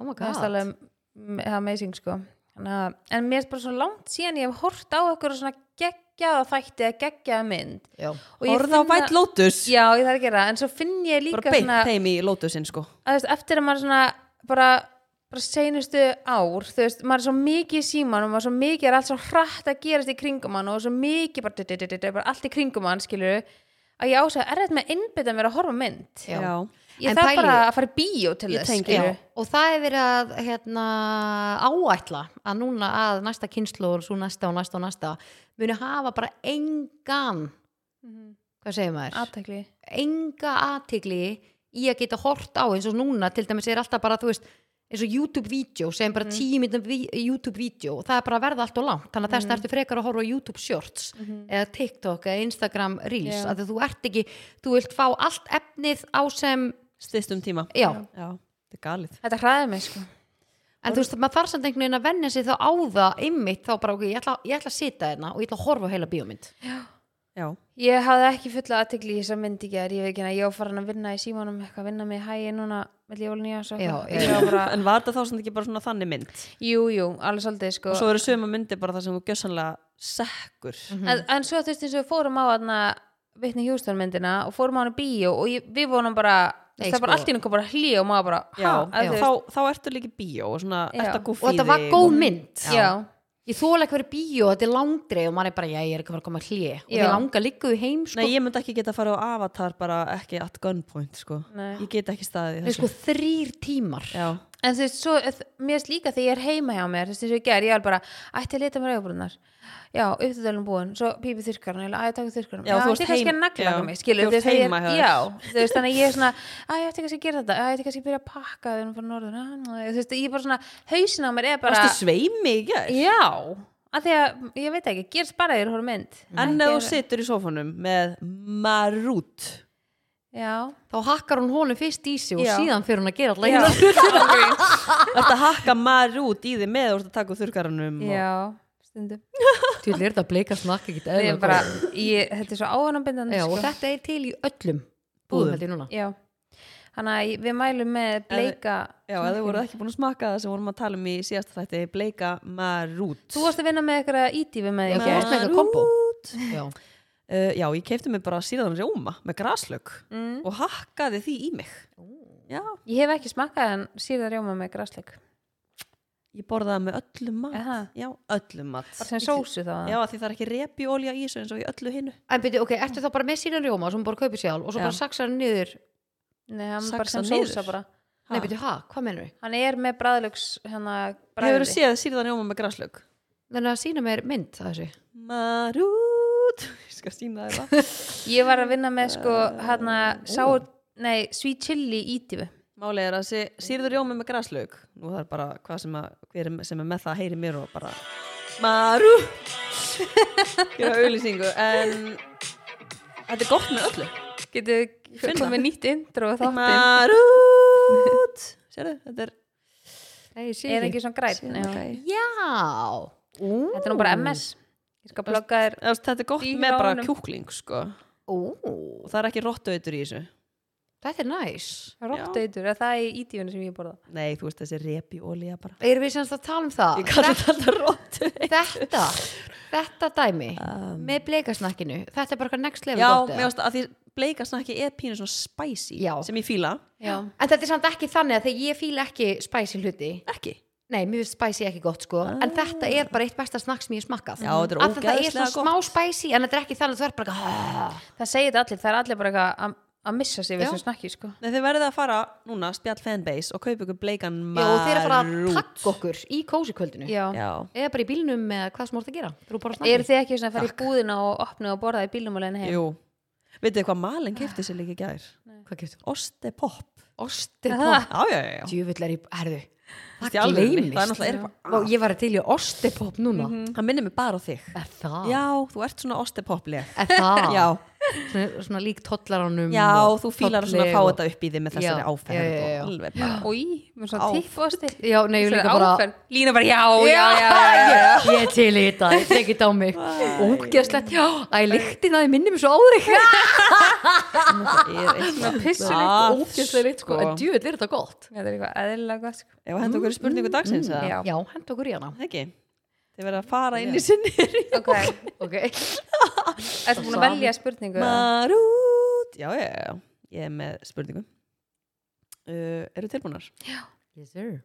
Speaker 2: Oh my
Speaker 3: það er
Speaker 2: god,
Speaker 3: alveg m- amazing sko Þannig að- en mér er bara svona langt síðan ég hef hort á okkur svona geggjaða þætti eða geggjaða mynd
Speaker 2: já
Speaker 3: Og ég
Speaker 1: horfða á
Speaker 3: finn
Speaker 1: White
Speaker 3: að-
Speaker 1: Lotus
Speaker 3: já, ég þarf að gera það, en svo finn ég líka
Speaker 1: bara beint
Speaker 3: svona,
Speaker 1: þeim í Lotusin sko
Speaker 3: að, þú veist, eftir að maður svona bara, bara seinustu ár þú veist, maður er svo mikið í síman og maður er svo mikið er allt svo hratt að gerast í kringum hann og svo mikið bara, d- d- d- d- bara allt í kringum hann skilur að ég ásæða erfitt með að innbytta mér að horfa á mynd
Speaker 2: Já.
Speaker 3: ég
Speaker 2: En
Speaker 3: þarf
Speaker 2: pæli-
Speaker 3: bara að fara í bíó til
Speaker 1: Ég
Speaker 3: þess
Speaker 1: tengi,
Speaker 3: skilurðu.
Speaker 1: já.
Speaker 2: og það er verið að hérna, áætla að núna að næsta kynslu og svo næsta og næsta og næsta muni hafa bara engan
Speaker 3: Mhm.
Speaker 2: hvað segir maður,
Speaker 3: athygli
Speaker 2: enga athygli í að geta hort á eins og núna til dæmis er alltaf bara, þú veist eins og YouTube-vídeó, segjum
Speaker 3: Mhm.
Speaker 2: bara mm. 10 YouTube-vídeó og það er bara að verða allt og langt þannig að þess
Speaker 3: Mhm.
Speaker 2: ertu frekar að horfa á YouTube-shorts eða TikTok eða Instagram Reels
Speaker 3: Já.
Speaker 2: að þú ert ekki, þú vilt fá allt efnið á sem,
Speaker 1: styrstum tíma
Speaker 2: já,
Speaker 1: já, þetta er galið
Speaker 3: þetta hraði mig sko
Speaker 2: En þú veist, maður þarf samt einhvern veginn að vennja sig þá á það ymmit þá bara, ok, ég ætla, ég ætla að sita hérna og ég ætla að horfa á heila bíómynd.
Speaker 1: já,
Speaker 3: Ég hafði ekki fulla aðtegli í þessa mynd í gerð, ég veit ekki að ég var farin að vinna í símanum, eitthvað vinna með hægi núna með jólun í ás og
Speaker 2: Já,
Speaker 3: eitthvað.
Speaker 2: já,
Speaker 3: Ég var bara,
Speaker 1: en var þetta þá sem ekki bara svona þannig mynd
Speaker 3: Jú, jú, alveg svolítið sko.
Speaker 1: og svo eru sömu myndi bara það sem þú gjössanlega sekkur
Speaker 3: en,
Speaker 1: Mhm.
Speaker 3: en svo þú veist eins og við fórum á þarna vitni Hjústón myndina og fórum á hann í bíó og ég, við vonum bara, Nei,
Speaker 2: Nei,
Speaker 3: það bara
Speaker 2: sko.
Speaker 3: allt í einhver bara hlý og maður bara,
Speaker 1: já,
Speaker 3: ha,
Speaker 1: þá, þá ertu líka í bíó og svona,
Speaker 3: Já.
Speaker 1: ertu að
Speaker 2: Og
Speaker 1: gúfí
Speaker 2: þetta var góð mynd.
Speaker 3: já,
Speaker 2: Ég þóla ekki verið bíó, þetta er langdreið og maður er bara, já, ég er ekki að fara að koma að hlje. Og
Speaker 3: Já.
Speaker 2: ég langa líka við heim, sko.
Speaker 1: Nei, ég myndi ekki geta að fara á Avatar bara ekki at gunpoint, sko.
Speaker 3: Nei.
Speaker 1: Ég get ekki staðið í
Speaker 2: Nei,
Speaker 1: þessu.
Speaker 2: sko, þrýr tímar.
Speaker 1: Já,
Speaker 3: en þú veist, svo, eh, mér veist líka þegar ég er heima hjá mér, þú veist eins og ég ger, ég er bara ætti að leta mér augabrúnar, já, uppdöðalum búin svo pípi þurrkarna, ég ætti að taka þurrkarna
Speaker 1: Já, þú varst
Speaker 3: ætti kannski
Speaker 1: heim-
Speaker 3: að nagla
Speaker 1: já,
Speaker 3: mig, skilur,
Speaker 1: þú varst
Speaker 3: að
Speaker 1: heima hjá
Speaker 3: ég
Speaker 1: þér.
Speaker 3: já, þú veist, þannig að ég er svona æ, ég ætti kannski að gera þetta, æ, ég ætti kannski að byrja að pakka þegar hún fór norður, ah, nei, þú veist, ég er bara svona hausin á mér er bara
Speaker 1: varstu sveimi í gær?
Speaker 3: Já, af því að, ég veit ekki, gerst bara þér hóru mynd
Speaker 1: En ef þú
Speaker 3: Ekki-
Speaker 1: situr í sófanum með marút.
Speaker 3: Já,
Speaker 2: Þá hakkar hún honum fyrst í sig og
Speaker 3: Já.
Speaker 2: síðan fyrir hún að gera
Speaker 3: já,
Speaker 2: alltaf einu.
Speaker 1: Ertu að hakka marút í þig með og ertu að taka úr þurrkaranum.
Speaker 3: já stundum
Speaker 2: Þú er þetta bleika snakk ekki
Speaker 3: Ég er bara, ég, þetta er svo áhannabindandi
Speaker 2: Já,
Speaker 3: sko.
Speaker 2: og þetta er til í öllum
Speaker 1: Búðum.
Speaker 2: búðum held ég núna
Speaker 3: Já, þannig að ég- við mælum með bleika
Speaker 1: Já, eða þið voruð ekki búin að smakka það sem vorum að tala um í síðasta þætti, bleika marút.
Speaker 3: Þú varst að vinna með E eitthvað ítífi með
Speaker 2: Já,
Speaker 3: því
Speaker 2: þú varst með eitthvað kombo. Já.
Speaker 1: Uh, já, ég keipti mig bara síðan rjóma með graslög
Speaker 3: Mm.
Speaker 1: og hakkaði því í mig. Já,
Speaker 3: Ég hef ekki smakkað en síðan rjóma með græsleik
Speaker 1: ég borðaði með öllum mat.
Speaker 3: Aha.
Speaker 1: Já, öllum mat.
Speaker 3: Bara sem sósu þá
Speaker 1: Já, af því það er ekki repjúolja í þessu eins og í öllu hinnu.
Speaker 2: En byrju, ok, ertu þá bara með síðan rjóma sem hún bara kaupir sjálf og svo
Speaker 1: Já.
Speaker 2: bara saksar hann niður
Speaker 3: Nei, hann
Speaker 1: Saxað
Speaker 3: bara sem
Speaker 1: niður.
Speaker 3: sósa bara
Speaker 2: Nei, byrju, ha, hvað menur við?
Speaker 3: Hann er með bræðlöks hérna
Speaker 1: Hefur þú
Speaker 3: bræðli
Speaker 1: séð síðan rjóma með graslög?
Speaker 2: Þannig að sína mér mynd að þessu
Speaker 1: Marút. Ég skal sína þér það.
Speaker 3: Ég var að vinna með sko hérna
Speaker 1: Uh,
Speaker 3: sour, nei, sweet chili E ítífi
Speaker 1: Málið er að sé, sýrður rjómi með græslaug Nú það er bara hvað sem, að, hver er- sem er með það heyri mér og bara Maru Gera auðlýsingu En þetta er gott með öllu
Speaker 3: Getur
Speaker 1: Finna.
Speaker 3: komið nýtt intro og þáttin
Speaker 1: Marút Sérðu, þetta er
Speaker 2: Nei, ég sé
Speaker 3: Er ekki svona græn
Speaker 1: Síðan
Speaker 3: Já.
Speaker 1: græn.
Speaker 2: Já Ú.
Speaker 3: Þetta er nú bara MS Ég skal blogga þér
Speaker 1: Eða, Þetta er gott
Speaker 3: Í
Speaker 1: með bara
Speaker 3: ránum.
Speaker 1: kjúkling sko.
Speaker 2: Ú,
Speaker 1: Og það er ekki rottautur í þessu
Speaker 2: þetta er næs
Speaker 3: Rottautur, er það í ítífinu sem ég borða
Speaker 1: Nei, þú veist þessi repi olía bara
Speaker 2: Erum við semst að tala um það?
Speaker 1: Ég kallar þetta alltaf rottu
Speaker 2: Þetta, þetta dæmi
Speaker 1: Um.
Speaker 2: með bleikasnakkinu, þetta er bara eitthvað next level
Speaker 1: Já,
Speaker 2: gott, eða?
Speaker 1: mér finnst að því bleika snakki er pínu svona spicy
Speaker 2: Já.
Speaker 1: Sem ég fíla
Speaker 3: Já
Speaker 2: En þetta er samt ekki þannig að þegar ég fíla ekki spæsi hluti
Speaker 1: Ekki
Speaker 2: Nei, mér finnst spæsi ekki gott sko En þetta er bara eitt besta snakk sem ég hef smakkað
Speaker 1: Já, þetta er
Speaker 2: Af því það er
Speaker 1: ógeðslega
Speaker 2: svona smá spæsi En þetta er ekki þannig að þú er bara eitthvað,
Speaker 3: Það segir þetta allir, það er allir bara eitthvað að- að missa sig við
Speaker 2: Já.
Speaker 3: þessu snakki sko.
Speaker 1: Nei, þið verðið að fara núna, spjall fanbase og kaupa ykkur bleikan
Speaker 2: Já,
Speaker 1: marút.
Speaker 2: og þeir eru að fara að takka okkur í kósi kvöldinu
Speaker 3: Já.
Speaker 1: Já.
Speaker 2: Eða bara í bílnum með hvað sem þú ert að gera Þú bara
Speaker 3: Eru
Speaker 2: snakkið
Speaker 3: þið ekki svona að fara í búðina og opna og borða í bílum og leina heim?
Speaker 1: Jú. Vitið þið hvað Malin kefti sér líka í gær?
Speaker 2: Hvað getur þú?
Speaker 1: Ostepopp.
Speaker 2: Ostepopp
Speaker 1: Já, já, já. já.
Speaker 2: Djúvill er í, herðu Það
Speaker 1: Í alvörunni,
Speaker 2: gleymist
Speaker 1: Það er náttúrulega er eitthvað.
Speaker 2: Og ég var að til í ostepopp núna mm
Speaker 1: Það minnir mig bara á þig.
Speaker 2: Er það?
Speaker 1: Já, þú ert svona ostepoppleg.
Speaker 2: Er það?
Speaker 1: Já.
Speaker 2: Svona, svona lík tollaránum
Speaker 1: Já,
Speaker 2: og
Speaker 1: þú fílar að svona
Speaker 2: tolleg
Speaker 1: fá
Speaker 2: og-
Speaker 1: þetta upp í þig með þessari
Speaker 2: Já,
Speaker 1: áferð
Speaker 2: já, já, já.
Speaker 1: og alveg bara.
Speaker 3: Új, með svona
Speaker 1: Á.
Speaker 3: tipposti
Speaker 2: Já, nei, ég líka bara
Speaker 3: Lína bara já, já, já, já, já.
Speaker 2: Ég- Ég er til í þetta, ég tek þetta á mig Ógeðslegt, já, æ, líktin að ég minni mér svo áður eitthvað
Speaker 3: Ah,
Speaker 1: Ég er eitthvað
Speaker 2: Pissulegt, ógeðslegt, líkt, sko, en djúvill er þetta gott Mm,
Speaker 3: Þetta er eitthvað eðlilega gott sko.
Speaker 1: Ef að henda okkur í spurningu dagsins, eða?
Speaker 3: Já.
Speaker 2: Já, hend okkur í hana
Speaker 1: Það ekki. Þið verða að fara inn í sinni.
Speaker 3: Ok,
Speaker 2: Ok,
Speaker 3: ertu búin að velja spurningu? eða?
Speaker 1: Marút. Já, já, já. Ég er með spurningu. Uh, eru tilbúnar?
Speaker 2: yes sir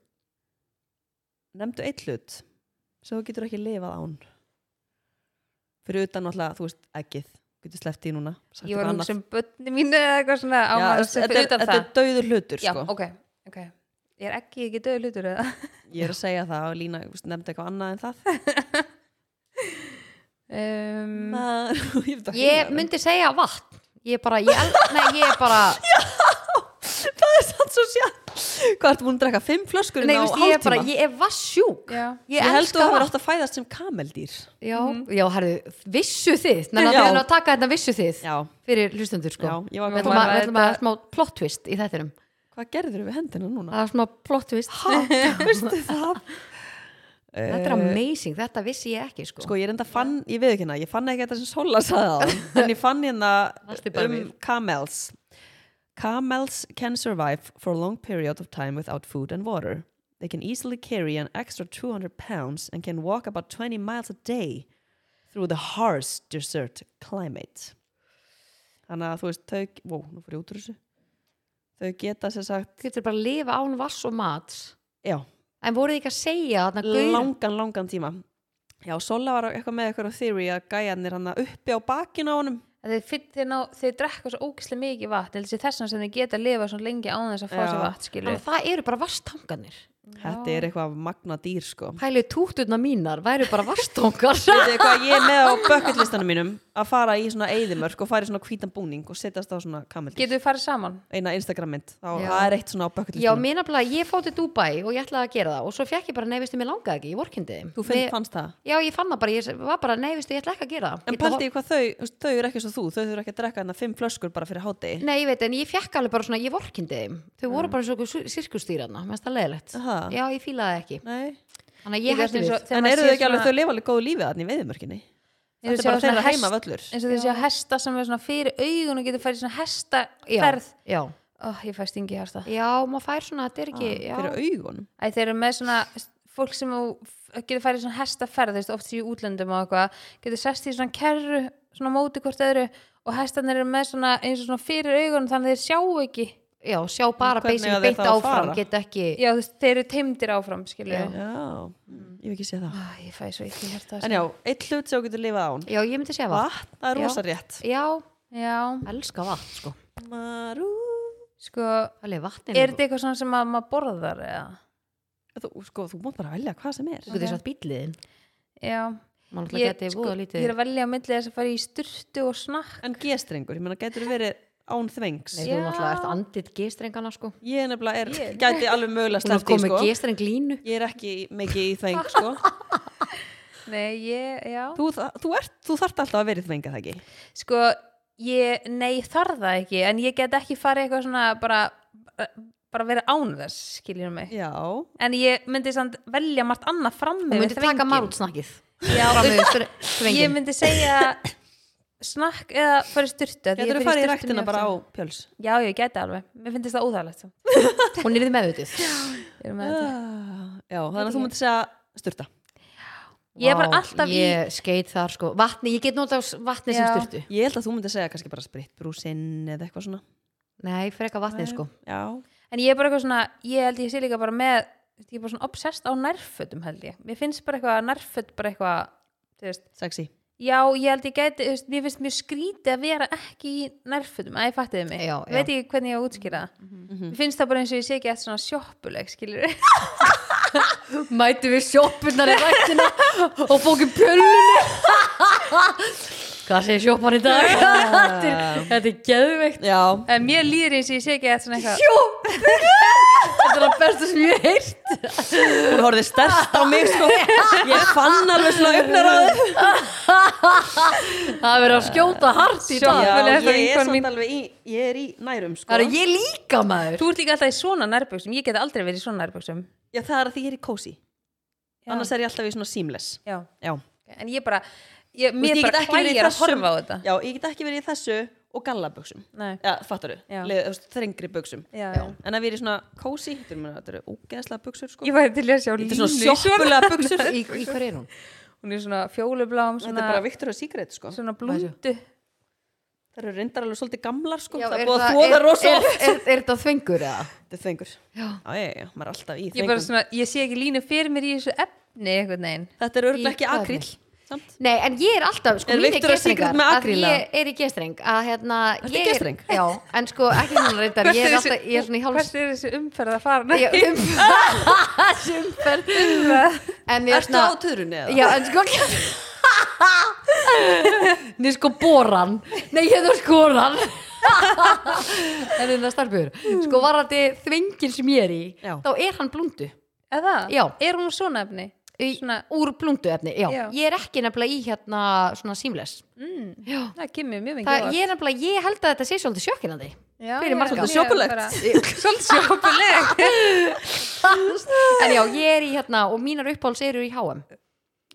Speaker 1: nefndu eitt hlut sem þú getur ekki lifað án fyrir utan náttúrulega, þú veist, ekkið getur sleppt í núna sagt
Speaker 3: Ég var
Speaker 1: eitthvað
Speaker 3: hún
Speaker 1: annað.
Speaker 3: sem bönni mínu eða eitthvað svona á
Speaker 1: Já,
Speaker 3: maður
Speaker 1: þetta-
Speaker 3: sem fyrir
Speaker 1: þetta-
Speaker 3: utan
Speaker 1: þetta er
Speaker 3: það
Speaker 1: dauður hlutur
Speaker 3: Já,
Speaker 1: sko.
Speaker 3: ok, ok Ég er ekki, ekki döðu hlutur eða
Speaker 1: ég er að segja það og Lína þú veist, nefndi eitthvað annað en það
Speaker 3: um,
Speaker 1: Mar, ég, veit ekki hvað
Speaker 2: Ehm,
Speaker 1: það
Speaker 2: Ég
Speaker 1: er.
Speaker 2: myndi segja vatn Ég bara, ég, el- nei, ég bara
Speaker 1: það er sann svo sjá hvað ertu búin að drekka fimm flöskur
Speaker 2: Nei,
Speaker 1: á
Speaker 2: veist, ég er bara,
Speaker 1: hálftíma
Speaker 2: ég er vassjúk
Speaker 3: Já.
Speaker 2: Ég,
Speaker 1: ég held
Speaker 2: elska
Speaker 1: þú að það
Speaker 2: vatn
Speaker 1: átt að fæðast sem kameldýr
Speaker 2: Já, já, herðu, vissu þið Nei, það
Speaker 1: Já.
Speaker 2: er að taka þetta vissu þið
Speaker 1: já,
Speaker 2: Fyrir hlustendur, sko
Speaker 1: já, ég var
Speaker 2: Við
Speaker 1: að
Speaker 2: ætlum
Speaker 1: koma
Speaker 2: að- við ætlum að
Speaker 3: Þetta-
Speaker 2: smá plot twist í þettinum
Speaker 1: hvað gerður við hendina núna
Speaker 2: Það er smá plot twist
Speaker 1: veistu það
Speaker 2: Þetta er amazing, þetta vissi ég ekki Eh. sko.
Speaker 1: Sko ég enda fann, ég veið ekki hérna, ég fann ekki þetta sem Sola sagði á en ég fann hérna
Speaker 2: Allt er bara
Speaker 1: um
Speaker 2: við.
Speaker 1: camels Camels can survive for a long period of time without food and water. They can easily carry an extra 200 pounds and can walk about 20 miles a day through the harsh desert climate. Þannig að þú veist, þau, wow, nú fyrir út úr þessu. Þau geta sér sagt,
Speaker 2: Þú getur bara að lifa án vass og mats
Speaker 1: já,
Speaker 2: En voruð þið ekki að segja þarna gaur-
Speaker 1: langan, langan tíma. Já, Sola var eitthvað með eitthvað theory að gæjarnir hann uppi á bakinu á honum
Speaker 3: Þeir, finn- þeir, ná, þeir drekka svo ógislega mikið vatn þessi þessum sem þeir geta að lifa svo lengi án þess að fá
Speaker 1: Já.
Speaker 3: sér vatn skilur
Speaker 2: Þannig að Það eru bara vasstanganir
Speaker 1: Þetta er eitthvað magna dýr sko
Speaker 2: Pælið túturna mínar væru bara vasstangar
Speaker 1: Þetta er eitthvað ég er með á bucketlistanum mínum að fara í svona eyðimörk og fara í svona hvítan búning og setjast á svona kameldýr
Speaker 3: Getum við farið saman?
Speaker 1: eina Instagram mynd, þá
Speaker 2: Já.
Speaker 1: það er eitt svona á
Speaker 2: Já,
Speaker 1: bucketlistanum
Speaker 2: mér nafnilega, ég fótti Dubai og ég ætlaði að gera það og svo fekk ég bara neyvistu, mér langaði ekki, ég vorkindi þeim
Speaker 1: Þú finn, fannst það?
Speaker 2: Já, ég fann það bara, ég var bara neyvistu, ég ætla ekki að gera það
Speaker 1: En
Speaker 2: Ég ætla að
Speaker 1: pældi ég hvað þau, þú veist, þau eru ekki svo þú þau þurfa ekki að drekka þarna fimm flöskur bara fyrir hátegi
Speaker 2: Nei, ég veit, en ég fekk alveg bara svona, ég vorkindi þeim Þau voru bara eins og okkur sirkustýrana, mennst það leðilegt
Speaker 1: Aha.
Speaker 2: Já, ég fílaði það ekki
Speaker 1: Nei,
Speaker 2: þannig að ég
Speaker 3: Líka
Speaker 2: hætti
Speaker 3: eins
Speaker 2: við
Speaker 3: og
Speaker 1: en
Speaker 3: þegar maður
Speaker 1: eru
Speaker 3: sér
Speaker 1: þau ekki alveg,
Speaker 3: svona-
Speaker 1: þau lifa alveg góðu lífið þannig í veiðumörkinni
Speaker 3: Ég
Speaker 1: þetta er
Speaker 3: sé
Speaker 1: bara
Speaker 3: svona
Speaker 1: þeirra
Speaker 3: hest-
Speaker 1: heima völlur
Speaker 3: eins og þessi hesta sem er svona fyrir augun og getur færi svona hesta ferð
Speaker 2: já,
Speaker 3: Ó, ég fæ stingi hérsta
Speaker 2: já, maður fær svona þetta er ekki, já,
Speaker 1: Ah, fyrir augunum
Speaker 3: Æ, þeir eru með svona fólk sem þú- getur farið í svona hestaferð þú veist, oft í útlöndum og eitthvað getur sest í svona kerru, svona á móti hvort öðru og hestarnir eru með svona eins og svona fyrir augunum þannig að þeir sjá ekki
Speaker 2: já, sjá bara
Speaker 1: Hvernig á
Speaker 2: beisinu
Speaker 1: þeir
Speaker 2: beitt
Speaker 1: þá að
Speaker 2: áfram,
Speaker 1: fara?
Speaker 2: geta ekki
Speaker 3: já, þú veist, þeir eru teimdir áfram, skilju
Speaker 2: Já.
Speaker 3: ég
Speaker 1: já, mm, ég hef ekki séð það
Speaker 3: fæ svo ekki hérta
Speaker 1: en já, eitt hlut sem þú getur lifað án
Speaker 2: já, ég myndi segja vatn,
Speaker 1: vatn, það er
Speaker 2: Já.
Speaker 1: rosa rétt
Speaker 2: já,
Speaker 3: sko. já,
Speaker 2: elska vatn sko,
Speaker 1: Marú
Speaker 3: sko,
Speaker 2: alveg vatnin
Speaker 3: er þetta eitthvað svona sem að maður borðar eða?
Speaker 1: þú, sko, þú mátt bara velja hvað sem er
Speaker 2: þú getur satt bíliðin
Speaker 3: Já,
Speaker 2: maður alltaf
Speaker 3: ég,
Speaker 2: geti
Speaker 3: sko,
Speaker 2: voða
Speaker 3: ég
Speaker 2: lítið
Speaker 3: er að velja á milli þess að fara í styrtu og snakk
Speaker 1: en g-strengur, ég meina, getur verið án þvengs
Speaker 2: Nei,
Speaker 1: ég,
Speaker 2: þú náttúrulega
Speaker 3: Já.
Speaker 2: ert andið gestrengana sko
Speaker 1: ég nefnilega er, gæti alveg mögulega
Speaker 2: Hún er
Speaker 1: sleppt í
Speaker 2: komið
Speaker 1: sko.
Speaker 2: gestreng línu
Speaker 1: ég er ekki mikið í þveng sko.
Speaker 3: Nei, ég, já
Speaker 1: þú, það, þú, ert, þú þart alltaf að verið þvenga það ekki
Speaker 3: Sko, ég, nei, ég þarf það ekki en ég get ekki farið eitthvað svona bara, bara verið án þess skiljum mig,
Speaker 1: já,
Speaker 3: en ég myndi samt velja margt annað fram
Speaker 2: Hún
Speaker 3: með
Speaker 2: myndi taka marútsnakkið
Speaker 3: Já,
Speaker 2: Fram
Speaker 3: þú-
Speaker 2: með stre-
Speaker 3: ég
Speaker 2: strenginn.
Speaker 3: myndi segja snakk eða farið styrtu af því
Speaker 1: getur þú
Speaker 3: ég fer
Speaker 1: farið í
Speaker 3: sturtu
Speaker 1: ræktina
Speaker 3: mjög
Speaker 1: bara á
Speaker 3: oft.
Speaker 1: pjöls
Speaker 3: Já, ég geti alveg, mér finnst það óþægilegt samt.
Speaker 2: Hún er þið meðvitið
Speaker 3: Ég er með þetta.
Speaker 1: Ah, já, þannig að þú myndir segja sturta
Speaker 3: Ég er bara
Speaker 2: Vá,
Speaker 3: alltaf í-
Speaker 2: Ég skeit þar sko Vatni, ég get notað vatni sem
Speaker 3: Já.
Speaker 2: styrtu
Speaker 1: ég held að þú myndir segja kannski bara spritbrúsinn eða eitthvað svona
Speaker 2: Nei, freka vatnið sko
Speaker 1: já,
Speaker 3: en ég er bara eitthvað svona, ég held ég sé líka bara með ég er bara svona obsessed á nærfötum held ég mér finnst bara eitthvað nærföt bara eitthvað, þú veist,
Speaker 1: sexy
Speaker 3: já ég held ég gæti þú veist, mér finnst mjög skrítið að vera ekki í nærfötum, að ég fattiði mig
Speaker 2: Já, já.
Speaker 3: veit ekki hvernig ég á að útskýra það
Speaker 1: Mhm.
Speaker 3: mér finnst það bara eins og ég sé ekki eftir svona sjoppuleg skilur
Speaker 2: Mætu við sjoppunar í rættina og fókum pjölunni Hvað segir sjoppan í dag? Þetta er- Þetta er geðveikt
Speaker 1: já,
Speaker 3: en mér líður eins og ég sé ekki eftir svona eitthvað
Speaker 2: Sjoppunar Þetta er það besta sem ég hef heyrt
Speaker 1: hún horfið stert á mig sko. ég fann alveg svona öfnar á þau
Speaker 2: Það er verið að skjóta hart í dag
Speaker 3: Sjoppuleg,
Speaker 1: já,
Speaker 3: þetta er
Speaker 1: ég er
Speaker 3: vinkona
Speaker 1: samt
Speaker 3: mín.
Speaker 1: alveg í, ég er í nærum sko.
Speaker 2: Það er ég líka maður
Speaker 3: þú ert líka alltaf í svona nærbuksum, ég get aldrei verið í svona nærbuksum
Speaker 1: já, það er að því ég er í cozy
Speaker 3: Já.
Speaker 1: annars er ég alltaf í svona seamless
Speaker 3: já.
Speaker 1: já,
Speaker 3: en ég bara, ég,
Speaker 1: Þú
Speaker 3: mér
Speaker 1: veist, ég
Speaker 3: bara
Speaker 1: get ekki verið í
Speaker 3: hlægir að
Speaker 1: þessum-
Speaker 3: horfa á þetta
Speaker 1: já, ég get ekki verið í þessu og gallaböksum
Speaker 3: Nei.
Speaker 1: já, fattar
Speaker 3: Já.
Speaker 1: þau, þrengri böksum
Speaker 3: Já, já.
Speaker 1: en að við erum svona cozy þetta eru- þetta eru ógeðslega böksur sko.
Speaker 3: ég væri til að sjá
Speaker 1: þetta
Speaker 3: línu
Speaker 1: er svona sjoppulega böksur
Speaker 2: Í, í hver er hún?
Speaker 3: hún er svona fjólubláum
Speaker 1: þetta er
Speaker 3: svona,
Speaker 1: bara Victor og Sigrid sko.
Speaker 3: svona blúndu
Speaker 1: það eru reyndar alveg svolítið gamlar sko.
Speaker 2: Já,
Speaker 1: það er
Speaker 2: er
Speaker 1: búið að
Speaker 2: það-
Speaker 1: þvóða
Speaker 2: er-
Speaker 1: rosa
Speaker 2: er-
Speaker 1: oft
Speaker 2: Er er þetta þvengur eða?
Speaker 1: þetta er þengur
Speaker 2: Já.
Speaker 1: já, já, já, maður er alltaf í
Speaker 3: ég, bara
Speaker 1: þengum
Speaker 3: svona, ég sé ekki línu fyrir mér í þessu efni einhvern veginn
Speaker 1: þetta er
Speaker 2: Í
Speaker 1: örgulega ekki
Speaker 2: hvað er
Speaker 1: akrill samt
Speaker 2: Nei, en ég er alltaf, sko,
Speaker 1: Er
Speaker 2: mín er
Speaker 1: Victoria
Speaker 2: gestrengar
Speaker 1: Secret með
Speaker 2: að
Speaker 1: akríl,
Speaker 2: Ég er í gestreng að hérna
Speaker 1: Ertu
Speaker 2: ég
Speaker 1: gestreng?
Speaker 2: Já, en sko, ekki núna reyndar Ég er
Speaker 3: Hvert
Speaker 2: alltaf, ég er svona í háls
Speaker 3: hvert er þessi umferð að fara
Speaker 2: Ég um Þessi umferð En ég er
Speaker 1: Ertu á
Speaker 2: svona
Speaker 1: törunni eða?
Speaker 2: Já, en sko Nei, sko, boran Nei, ég er skoran En það starfur Sko, varandi þvengin sem ég er í
Speaker 1: Já.
Speaker 2: Þá er hann blundu
Speaker 3: eða,
Speaker 2: Já.
Speaker 3: er hún svona efni
Speaker 2: í,
Speaker 3: Svona-
Speaker 2: úr blundu efni, já.
Speaker 3: Já.
Speaker 2: ég er ekki nefnilega í hérna svona símles
Speaker 3: mm,
Speaker 2: já,
Speaker 3: það kemur mjög mikið
Speaker 2: það, ég er nefnilega, ég held að þetta sé svolítið sjokkilandi fyrir marga.
Speaker 1: Svolítið sjoppulegt.
Speaker 3: svolítið sjoppulegt
Speaker 2: en já, ég er í hérna og mínar uppáhalds eru í HM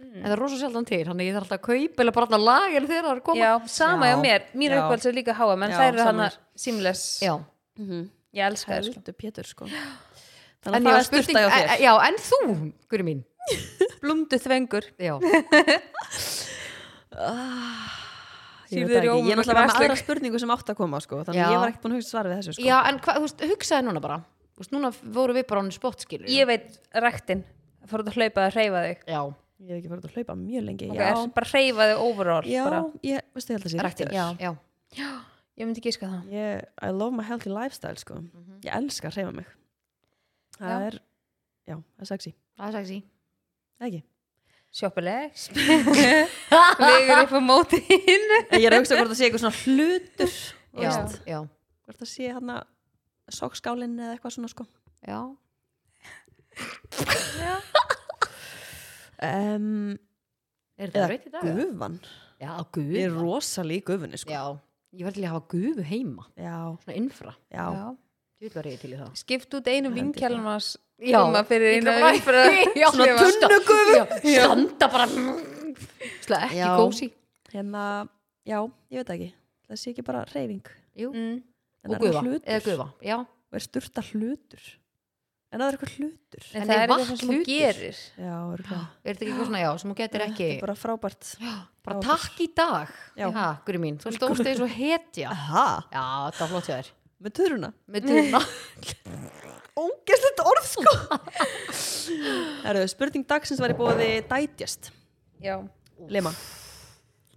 Speaker 1: Mm.
Speaker 2: en það er rosa sjaldan til, þannig að ég þarf alltaf að kaupa eða bara alltaf lagir þegar það er að koma
Speaker 3: já, sama
Speaker 1: Já.
Speaker 3: hjá mér, mín
Speaker 1: Já.
Speaker 3: uppáhalds er líka háa menn
Speaker 1: Já,
Speaker 3: þær eru
Speaker 1: sama
Speaker 3: hana
Speaker 1: hér.
Speaker 3: seamless
Speaker 2: Já.
Speaker 1: Mhm.
Speaker 3: ég elska það sko.
Speaker 1: heldur Pétur sko þannig að
Speaker 2: En, já,
Speaker 1: það er
Speaker 2: spurning,
Speaker 1: styrta hjá
Speaker 2: en,
Speaker 1: þér
Speaker 2: já, en þú, guri mín
Speaker 3: blundu þvengur
Speaker 2: já.
Speaker 1: Sko. ég,
Speaker 3: Sýrðu
Speaker 1: veit það
Speaker 3: þér
Speaker 1: ekki. ég er
Speaker 3: í ómögulega
Speaker 1: náttúrulega var með
Speaker 3: græsleik.
Speaker 1: aðra spurningu sem átt að koma sko. þannig
Speaker 2: Já.
Speaker 1: að ég var ekkert búin að hugsa svar við þessu sko.
Speaker 2: já, en hva, húst, hugsaði núna bara húst, núna voru við bara ánum spott skilur
Speaker 3: ég veit ræktin, fór að hlaupa að hreyfa þig
Speaker 2: já,
Speaker 1: ég hef ekki farið að hlaupa mjög lengi
Speaker 3: Ok,
Speaker 1: já,
Speaker 3: bara hreyfa þig overall
Speaker 1: já
Speaker 3: bara.
Speaker 1: ég, veistu, ég held að sé
Speaker 2: rættir
Speaker 1: réttur.
Speaker 2: já. Já.
Speaker 3: ég myndi gíska það
Speaker 1: ég, I love my healthy lifestyle sko. ég elska að hreyfa mig það
Speaker 3: Já.
Speaker 1: er já, það er sexy,
Speaker 2: það er sexy
Speaker 1: Eða ekki
Speaker 3: sjoppuleg legur upp á móti hinn
Speaker 1: ég er að hugsa hvort það sé eitthvað svona hlutur þú
Speaker 2: já,
Speaker 1: veist.
Speaker 2: já,
Speaker 1: hvort það sé hann að sokkskálinn eða eitthvað svona sko
Speaker 2: já
Speaker 1: um,
Speaker 2: er það
Speaker 1: eða
Speaker 2: rautt í dag? eða?
Speaker 1: gufan
Speaker 2: já, guð
Speaker 1: ég er rosalí gufunni sko
Speaker 2: Já, ég var til í að hafa gufu heima
Speaker 1: já,
Speaker 2: svona infra,
Speaker 1: já.
Speaker 2: djúðlar ég til í það
Speaker 3: skipt út einu
Speaker 1: Hendi
Speaker 3: vinkjálum hans
Speaker 2: Já.
Speaker 3: koma fyrir einu umferð
Speaker 2: Já,
Speaker 1: Svona
Speaker 2: skrifa.
Speaker 1: tunnugufu.
Speaker 2: Já, standa bara Sla ekki
Speaker 1: Já.
Speaker 2: kósi
Speaker 1: hérna, já, ég veit ekki það sé ekki bara reyfing
Speaker 3: mm.
Speaker 2: og gufa, eða
Speaker 1: hlutur,
Speaker 2: gufa já.
Speaker 1: og er sturta hlutur en það er eitthvað hlutur
Speaker 3: en
Speaker 2: En
Speaker 3: það
Speaker 2: er
Speaker 3: er eitthvað sem hún
Speaker 2: vatnhlutur?
Speaker 3: gerir
Speaker 1: já, örugglega.
Speaker 2: er þetta ekki eitthvað svona, já, sem hún getur ekki
Speaker 1: Þetta er bara frábært
Speaker 2: Já, bara takk í dag
Speaker 1: Já.
Speaker 2: já, guri mín, þú stóðst eins og hetja
Speaker 1: aha,
Speaker 2: já, það var flott hjá þér
Speaker 1: með töruna
Speaker 2: með tunna
Speaker 1: ógeðslegt orð sko Herru, spurning dagsins var í bóði dætjast
Speaker 3: já
Speaker 1: Lema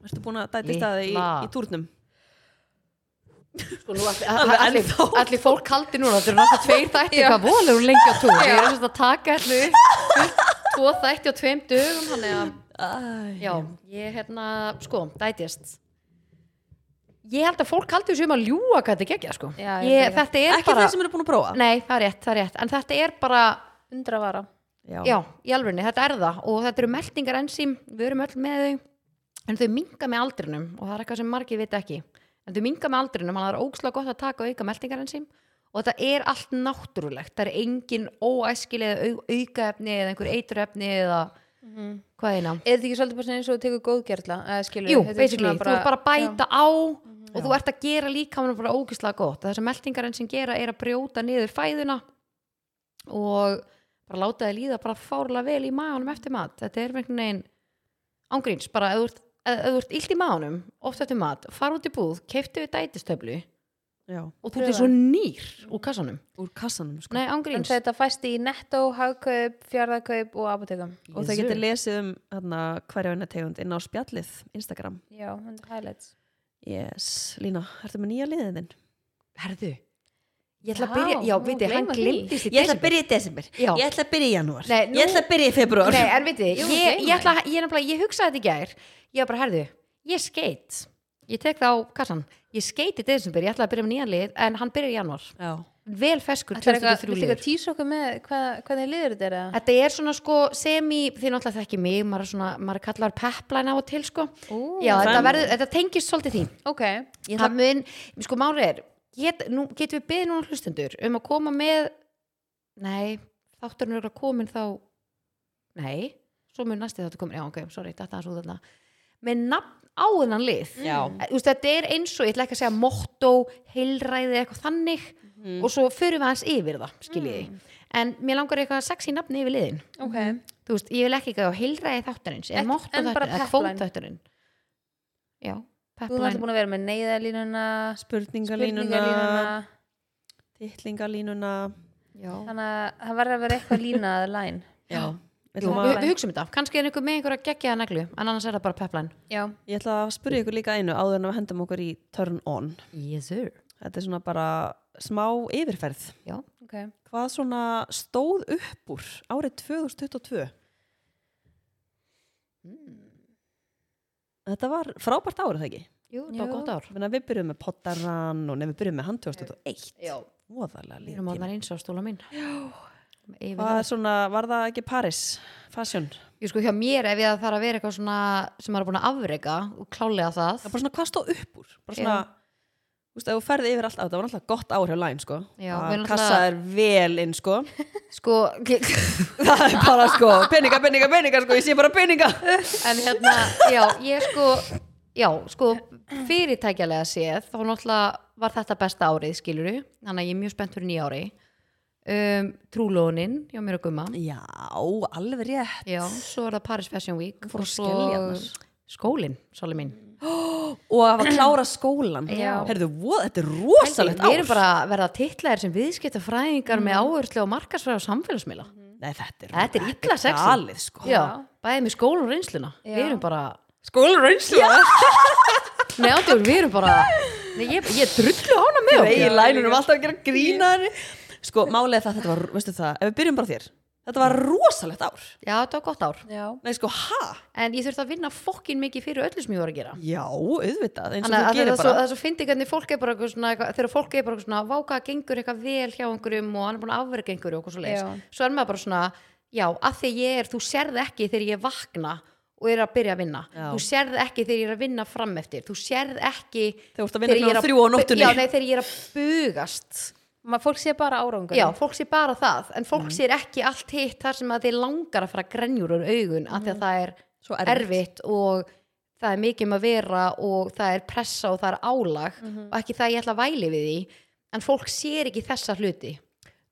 Speaker 1: Ertu búin að dætjast að þig í,
Speaker 2: Litla.
Speaker 1: í túrnum?
Speaker 2: sko, nú allir, allir, allir fólk haldi núna þetta eru náttúrulega tveir þætti
Speaker 3: Já.
Speaker 2: hvað volur hún lengi á túr ég er sem sagt að taka allir upp, tvo þætti á tveim dögum þannig að
Speaker 1: Æ,
Speaker 2: Já, ég hérna, sko, dætist Ég held að fólk haldi þessu um að ljúga hvað þetta gegja, sko
Speaker 3: Já, ég
Speaker 2: ég,
Speaker 3: held
Speaker 2: Þetta er
Speaker 1: Ekki
Speaker 2: bara
Speaker 1: þeir sem eru búin að prófa
Speaker 2: Nei, það er rétt, það er rétt En þetta er bara,
Speaker 3: undra vara
Speaker 2: já, í alvörinni, þetta er það Og þetta eru meldingar ensím, við erum öll með þau En þau minga með aldrinum Og það er eitthvað sem margir vita ekki En þau minga með aldrinum, þannig að það er ókslega gott að taka og auka meldingar ensím Og þetta er allt náttúrulegt Það er engin óæskilega au, aukaefni eða einhver eiturefni eða
Speaker 1: Mhm.
Speaker 2: hvað eina
Speaker 3: er þetta ekki svolítið bara svona eins og þú tekur góðgerla eða skilur
Speaker 2: Jú,
Speaker 3: þetta er
Speaker 2: basically,
Speaker 3: svona
Speaker 2: þú ert bara að bæta á og þú ert að gera líkamann bara ógislega gott. Þessar meldingar enn sem gera er að brjóta niður fæðuna og bara láta þið líða bara fárlega vel í maðanum eftir mat. Þetta er einhvern veginn ángríns, bara ef þú ert- ef ef þú ert illt í maðanum, oft eftir mat, fara út í búð, keiptu við dætistöflu
Speaker 1: Já,
Speaker 2: og þú ert svo nýr úr kassanum.
Speaker 1: úr kassanum sko.
Speaker 2: Nei,
Speaker 3: en
Speaker 2: ángríns.
Speaker 3: þetta fæst í netto, hagkaup, fjárðakaup og apotekum
Speaker 1: Og þau getur lesið um hana, hverja vinna tegund inn á spjallið Instagram
Speaker 3: já, hundra highlights
Speaker 1: Yes, Lína, ertu með nýja liðin þinn?
Speaker 2: Herðu, ég ætla
Speaker 3: Já,
Speaker 2: að byrja, já,
Speaker 3: nú
Speaker 2: viti, hann
Speaker 3: gleyma því.
Speaker 2: glimtist í desember.
Speaker 1: byrja í desember
Speaker 2: Já.
Speaker 1: ætla að byrja í janúar
Speaker 2: Nei, nú-
Speaker 1: að byrja í februar
Speaker 2: Nei, en vitið,
Speaker 3: Jú,
Speaker 2: ég, ég,
Speaker 3: gleyma
Speaker 2: ætla, ég, nefnilega- ég hugsaði þetta í gær Ég var bara, herðu, ég skeit Ég tek það á kassan Ég skeit í desember, ég ætla að byrja með nýjan lið En hann byrjar í januar
Speaker 1: Já,
Speaker 2: Vel feskur,
Speaker 3: Ætlar eitthvað-
Speaker 2: 23
Speaker 3: viltu eitthvað
Speaker 2: liður
Speaker 3: tísa okkur með hvað, hvernig liður þetta er eða?
Speaker 2: Þetta er svona sko semi, þið náttúrulega þekki mig, maður er svona, maður er kallar pepline á og til sko.
Speaker 3: Ú,
Speaker 2: Já, þetta,
Speaker 1: þannig.
Speaker 2: verður, þetta tengist svolítið því.
Speaker 3: ok,
Speaker 2: Ég ætla að mun, sko máli er, get, nú, getum við beðið núna hlustendur um að koma með, nei, þátturinn er að komin þá, nei, svo mun næsti þáttur komin, já ok, sorry, þetta er svo þarna, með nafn á þennan lið.
Speaker 1: Já.
Speaker 2: Eh, Þú veist, þetta er eins og, ég ætla ekki að segja motto, heilræði eitthvað þannig
Speaker 3: Mm.
Speaker 2: og svo förum við aðeins yfir það, skiljiði. En mér langar eitthvað sexy nafni yfir liðin.
Speaker 3: ok
Speaker 2: Þú veist, ég vil ekki ekki á heilræði þátturins,
Speaker 3: Ekki-
Speaker 2: en motto
Speaker 3: en bara
Speaker 2: þátturinn, eða
Speaker 3: pepline.
Speaker 2: kvót þátturinn. Já,
Speaker 3: þú ert alltaf
Speaker 2: pepline.
Speaker 3: búin að vera með neyðalínuna
Speaker 1: spurningalínuna,
Speaker 3: spurningalínuna
Speaker 1: titlingalínuna
Speaker 2: Já.
Speaker 3: þannig að það verður að vera eitthvað lína að læn
Speaker 1: Já,
Speaker 2: Jú,
Speaker 1: Ætlum
Speaker 2: við,
Speaker 1: að,
Speaker 2: við hugsaum þetta, kannski er einhver með einhverja geggjaða neglu en annars er það bara pepline
Speaker 3: já,
Speaker 1: ég ætla að spyrja ykkur líka einu áður en við hendum okkur í turn on
Speaker 2: yes, sir.
Speaker 1: Þetta er svona bara smá yfirferð
Speaker 2: Já,
Speaker 3: ok
Speaker 1: Hvað svona stóð upp úr árið 2022? Þetta var frábært árið það ekki
Speaker 2: jú, það var
Speaker 3: Jú.
Speaker 2: gott ár
Speaker 1: Menna, Við byrjum með pottarann og nefnum við byrjum með handtjóðstöð og eitt
Speaker 2: Já,
Speaker 1: Móðalega
Speaker 2: við erum
Speaker 1: líka
Speaker 2: átnar eins á stóla mín Yfir
Speaker 1: Hvað
Speaker 2: það.
Speaker 1: er svona, var það ekki Paris? Fashion?
Speaker 2: Jú, sko, hjá mér ef ég að þarf að vera eitthvað svona sem maður er búin að afreka og klálega það
Speaker 1: Það er bara svona hvað stóð upp úr bara svona Þú veist, ef þú ferði yfir allt á, það var náttúrulega gott ár hjá Læn, sko.
Speaker 2: Já,
Speaker 1: Það
Speaker 2: við náttúrulega-
Speaker 1: kassa er vel inn, sko.
Speaker 2: Sko,
Speaker 1: það er bara, sko, peninga, peninga, peninga, sko, ég sé bara peninga.
Speaker 2: en hérna, já, ég sko já, sko, fyrirtækjalega séð þá náttúrulega var þetta besta árið skiluru, þannig að ég er mjög spennt fyrir nýja ári um, Trúlónin hjá mér og gumma
Speaker 1: Já, alveg rétt.
Speaker 2: Já, svo er það Paris Fashion Week
Speaker 1: fór
Speaker 2: og
Speaker 1: að
Speaker 2: svo
Speaker 1: skelja annars.
Speaker 2: skólinn, svolítið mín
Speaker 1: Og að klára skólan.
Speaker 2: Já.
Speaker 1: Herðu, vo- þetta er rosalegt ár.
Speaker 2: Við erum bara að verða titlaðir sem viðskiptafræðingar með áherslu og markarsfræði og samfélagsmiðla
Speaker 1: Nei, þetta er,
Speaker 2: Þetta er illa sexy.
Speaker 1: galið, sko.
Speaker 2: Mhm. Já, bæðið með skóla og reynsluna
Speaker 3: Já.
Speaker 2: Við erum bara,
Speaker 1: Skólan reynslu.
Speaker 2: nei átjóður, við erum bara Nei, ég, ég er drullu ána með
Speaker 1: Nei, í
Speaker 2: okkur
Speaker 1: lænunum alltaf að gera grína henni. Sko, málið er það, þetta var, veistu það, ef við byrjum bara á þér. Þetta var rosalegt ár.
Speaker 2: Já, þetta var gott ár
Speaker 3: já,
Speaker 1: Nei, sko, ha?
Speaker 2: En ég þurfti að vinna fokkin mikið fyrir öllu sem ég var að gera
Speaker 1: Já, auðvitað, eins og þú
Speaker 2: Þannig að það
Speaker 1: gerir
Speaker 2: er svo,
Speaker 1: bara.
Speaker 2: það er svo fyndi hvernig fólk er bara eitthvað svona, eitthvað- þegar fólk er bara eitthvað svona váka gengur eitthvað vel hjá einhverjum og hann er búin að afverja einhverju og eitthvað svo
Speaker 3: Já.
Speaker 2: svo er maður bara svona, já, að því ég er þú sérð ekki þegar ég vakna og er að byrja að vinna,
Speaker 1: Já.
Speaker 2: þú sérð ekki þegar ég er að vinna fram eftir, þú sérð ekki
Speaker 1: Þegar þú ert að vinna
Speaker 2: ég er
Speaker 1: klukkan þrjú á nóttunni.
Speaker 2: já, nei, þegar ég er að bugast
Speaker 3: Ma, fólk sé bara árangur
Speaker 2: Já, fólk sér bara það, en fólk
Speaker 1: Mm.
Speaker 2: sér ekki allt hitt þar sem að þeir langar að fara grenjur úr augun, af því að það er
Speaker 1: Mm. Svo
Speaker 2: erfitt. og það er mikið um að vera og það er pressa og það er álag
Speaker 1: Mhm.
Speaker 2: og ekki það ég ætla að væli við því en fólk sér ekki þessa hluti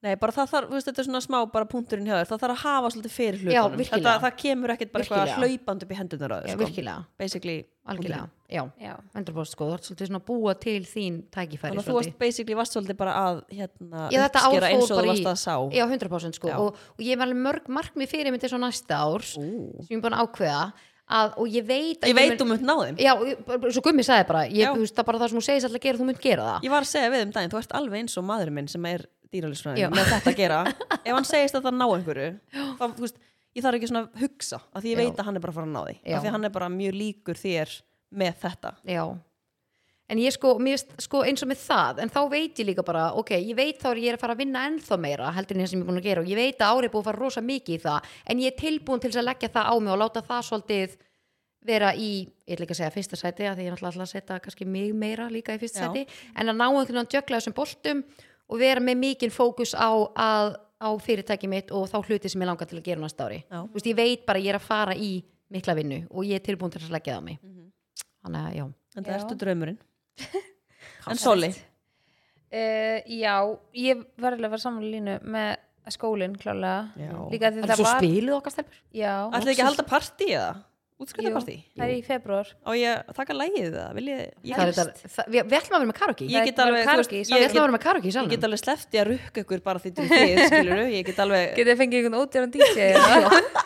Speaker 1: Nei, bara það þarf, þú veist, þetta er svona smá bara punkturinn hjá þér, það þarf að hafa svolítið fyrir
Speaker 2: Já,
Speaker 1: hlutunum
Speaker 2: virkilega.
Speaker 1: þetta, það kemur ekkert bara eitthvað
Speaker 2: Virkilega.
Speaker 1: hlaupand upp í hendunar á
Speaker 2: Já,
Speaker 1: þér, sko,
Speaker 2: virkilega,
Speaker 1: basically
Speaker 2: algjörlega Já,
Speaker 3: Já.
Speaker 2: 100% sko, þú ert svolítið svona að búa til þín tækifæri
Speaker 1: þannig að þú varst basically varst svolítið bara að hérna,
Speaker 2: Já, þetta ár
Speaker 1: uppskera eins
Speaker 2: fór
Speaker 1: og þú
Speaker 2: bara í-
Speaker 1: varst að sá
Speaker 2: Já, 100% sko
Speaker 1: Já.
Speaker 2: Og, og ég er alveg mörg markmið fyrir myndi svo næsta árs
Speaker 1: Ú.
Speaker 2: sem ég er búin að ákveða að, og ég veit að
Speaker 1: ég veit
Speaker 2: mun-
Speaker 1: þú munt ná þeim
Speaker 2: Já, ég- bara- bara- svo Gummi sagði bara, ég,
Speaker 1: Já.
Speaker 2: þú veist, það er bara það sem hún segist alltaf að gera, þú munt gera það
Speaker 1: ég var að segja við um daginn, þú ert alveg eins og maðurinn minn sem er
Speaker 2: Já.
Speaker 1: dýralisfræðin með þetta að gera ef hann segist að það ná einhverju þá, þú veist, ég þarf ekki svona að hugsa af því ég
Speaker 2: Já.
Speaker 1: veit að hann er bara að fara að ná því
Speaker 2: Já.
Speaker 1: af því hann er bara mjög líkur þér með þetta
Speaker 2: Já En ég sko, mér, finnst, sko eins og með það en þá veit ég líka bara, ok, ég veit þá er ég er að fara að vinna ennþá meira heldur en það sem ég er búin að gera og ég veit að árið er búið að fara rosa mikið í það en ég er tilbúin til þess að leggja það á mig og láta það svolítið vera í, ég ætla ekki að segja fyrsta sæti af því ég er náttúrulega ætla að setja kannski mig meira líka í
Speaker 1: Já.
Speaker 2: fyrsta sæti en að ná einhvern veginn að djögla þessum boltum og vera með mikinn fókus á, að, á fyrirtæki mitt og þá hluti sem ég langar til að gera næsta ári
Speaker 1: Já.
Speaker 2: Þú veist, ég veit bara að ég er að fara í mikla vinnu og ég er tilbúin til þess að leggja það á mig
Speaker 1: Mhm.
Speaker 2: þannig að já
Speaker 1: en það
Speaker 3: Já.
Speaker 1: ertu draumurinn en Soli,
Speaker 3: Uh, já, ég var alveg að vera saman línu með skólinn klálega
Speaker 1: Já.
Speaker 3: líka því
Speaker 2: En
Speaker 3: það
Speaker 2: svo
Speaker 3: var
Speaker 2: spiluð okkar stelpur
Speaker 3: já,
Speaker 1: ætlaðu ekki að halda partí eða?
Speaker 3: jú,
Speaker 1: útskriftapartí?
Speaker 3: það er í februar
Speaker 1: á ég að taka lægið það? vil ég, ég,
Speaker 2: Það er
Speaker 1: get,
Speaker 2: þetta- það- Við við ætlum að vera með karaoke
Speaker 1: ég get
Speaker 3: það er
Speaker 1: alveg þú
Speaker 3: karaoke í
Speaker 1: veist,
Speaker 3: salnum.
Speaker 2: Við
Speaker 1: ég
Speaker 2: ætlum að
Speaker 1: get,
Speaker 2: vera með karaoke í
Speaker 1: ég
Speaker 2: salnum
Speaker 1: get alveg slefti að rukka ykkur bara því til þið skilur ég get alveg
Speaker 3: getið að fengið einhvern ódýran DJ eða?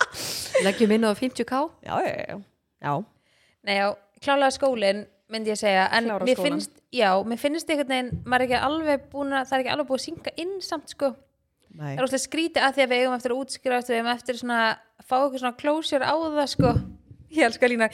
Speaker 2: Leggjum inn á 50k
Speaker 1: já, já, já, já.
Speaker 3: Nei, já, klálega skólinn myndi ég segja, en
Speaker 1: Klára
Speaker 3: mér
Speaker 1: skólann.
Speaker 3: finnst já, mér finnst einhvern veginn, maður er ekki alveg búin að, það er ekki alveg búin að synga inn samt sko,
Speaker 1: Nei.
Speaker 3: það er óslega skrítið að því að við eigum eftir að útskýra, við eigum eftir svona að fá eitthvað svona closure á það sko ég elska lína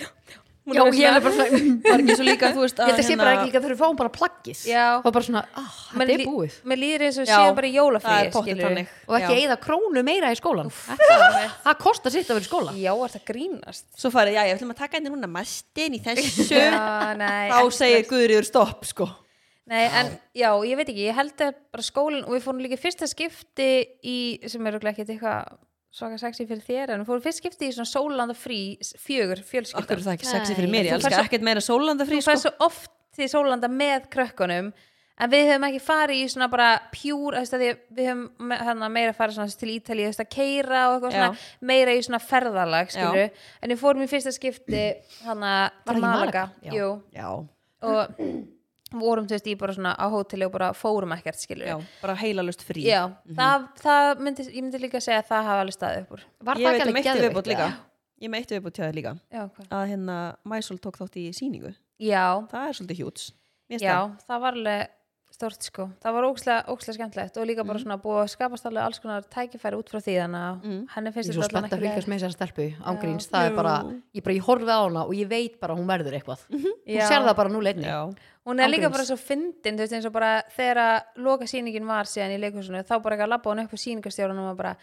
Speaker 3: Hún
Speaker 2: Já, ég
Speaker 3: er
Speaker 2: er
Speaker 3: svona-
Speaker 2: bara svona
Speaker 1: var ekki svo líka þú veist að hérna-
Speaker 2: Þetta sé bara ekki líka þegar við fáum um bara plaggis
Speaker 3: Já.
Speaker 2: Og bara svona, ah, þetta
Speaker 3: Mér
Speaker 2: er
Speaker 3: lí-
Speaker 2: búið
Speaker 3: mér líður eins og
Speaker 1: Já,
Speaker 3: séum bara í
Speaker 1: það er
Speaker 3: jólafríi
Speaker 1: pottið
Speaker 3: skilurðu.
Speaker 1: þannig
Speaker 2: Og ekki
Speaker 1: Já.
Speaker 2: eigða krónu meira í skólan
Speaker 3: Það er-
Speaker 2: Það kostar sitt að vera í skóla
Speaker 3: Já, er það grínast?
Speaker 1: svo farið, já, ég ætlum að taka henni núna mastin í þessu
Speaker 3: Já, nei,
Speaker 1: þá
Speaker 3: ekki
Speaker 1: segir
Speaker 3: strax.
Speaker 1: Guðriður stopp sko
Speaker 3: Nei, en já, ég veit ekki, ég held að bara skólinn og við fórum líka í fyrsta skipti í, sem er örugglega ekkert eitthvað svaka sexy fyrir þér, en við fórum fyrst skipti í svona sólanda frí, fjögur,
Speaker 1: okkur
Speaker 3: fjölskyldan
Speaker 1: er það ekki sexy
Speaker 2: Nei.
Speaker 1: fyrir mér, ég
Speaker 3: Þú færð
Speaker 1: elska
Speaker 3: svo-
Speaker 1: ekkert meira sólanda frí
Speaker 3: Þú
Speaker 1: sko
Speaker 3: fæði svo oft til sólanda með krökkunum en við höfum ekki farið í svona bara pjúr, þú veist að því að við höfum me- hérna, meira farið svona til Ítalíu, þú veist að keira og eitthvað
Speaker 1: Já.
Speaker 3: svona meira í svona ferðalag, skilur en við fórum í fyrsta skipti hana
Speaker 2: Var það
Speaker 3: til
Speaker 2: ekki
Speaker 3: Malaga,
Speaker 2: Malaga? Já.
Speaker 3: jú
Speaker 1: já,
Speaker 3: og vorum þú veist í bara svona á hóteli og bara fórum ekkert skilur
Speaker 1: já, bara heilalust frí
Speaker 3: já
Speaker 2: Mhm.
Speaker 3: það, það myndi, ég myndi líka segja að það hafa alveg staðið upp úr
Speaker 2: Var
Speaker 1: ég
Speaker 2: það
Speaker 1: veit
Speaker 2: ekki
Speaker 1: um
Speaker 2: alveg
Speaker 1: eitt
Speaker 2: geðveikt?
Speaker 1: viðbútt líka ég með eitt viðbútt hjá þér líka
Speaker 3: já, hvað?
Speaker 1: að hérna Mæsól tók þátt í síningu
Speaker 3: já,
Speaker 1: það er svolítið hjúts
Speaker 3: já, það var alveg stort sko, það var ókslega, ókslega skemmtilegt og líka bara
Speaker 2: Mhm.
Speaker 3: svona búið að skapast alveg alls konar tækifæri út frá því þannig að henni
Speaker 2: Mhm. Ég
Speaker 3: finnst
Speaker 2: er svo
Speaker 3: þetta allan
Speaker 2: spennt að
Speaker 3: ekki
Speaker 2: fylgjast
Speaker 3: leið.
Speaker 2: með þessar stelpu ángríns Það er
Speaker 1: Jú.
Speaker 2: bara, ég bara, ég horfið á hana og ég veit bara að hún verður eitthvað Hún
Speaker 3: Já.
Speaker 2: sér það bara nú leitni
Speaker 1: já,
Speaker 3: hún er líka
Speaker 2: Ángríns.
Speaker 3: bara svo fyndin þú veist eins og bara þegar að loka sýningin var síðan í leikhúsinu, þá bara ekki að labba hún upp á sýningastjórunum og bara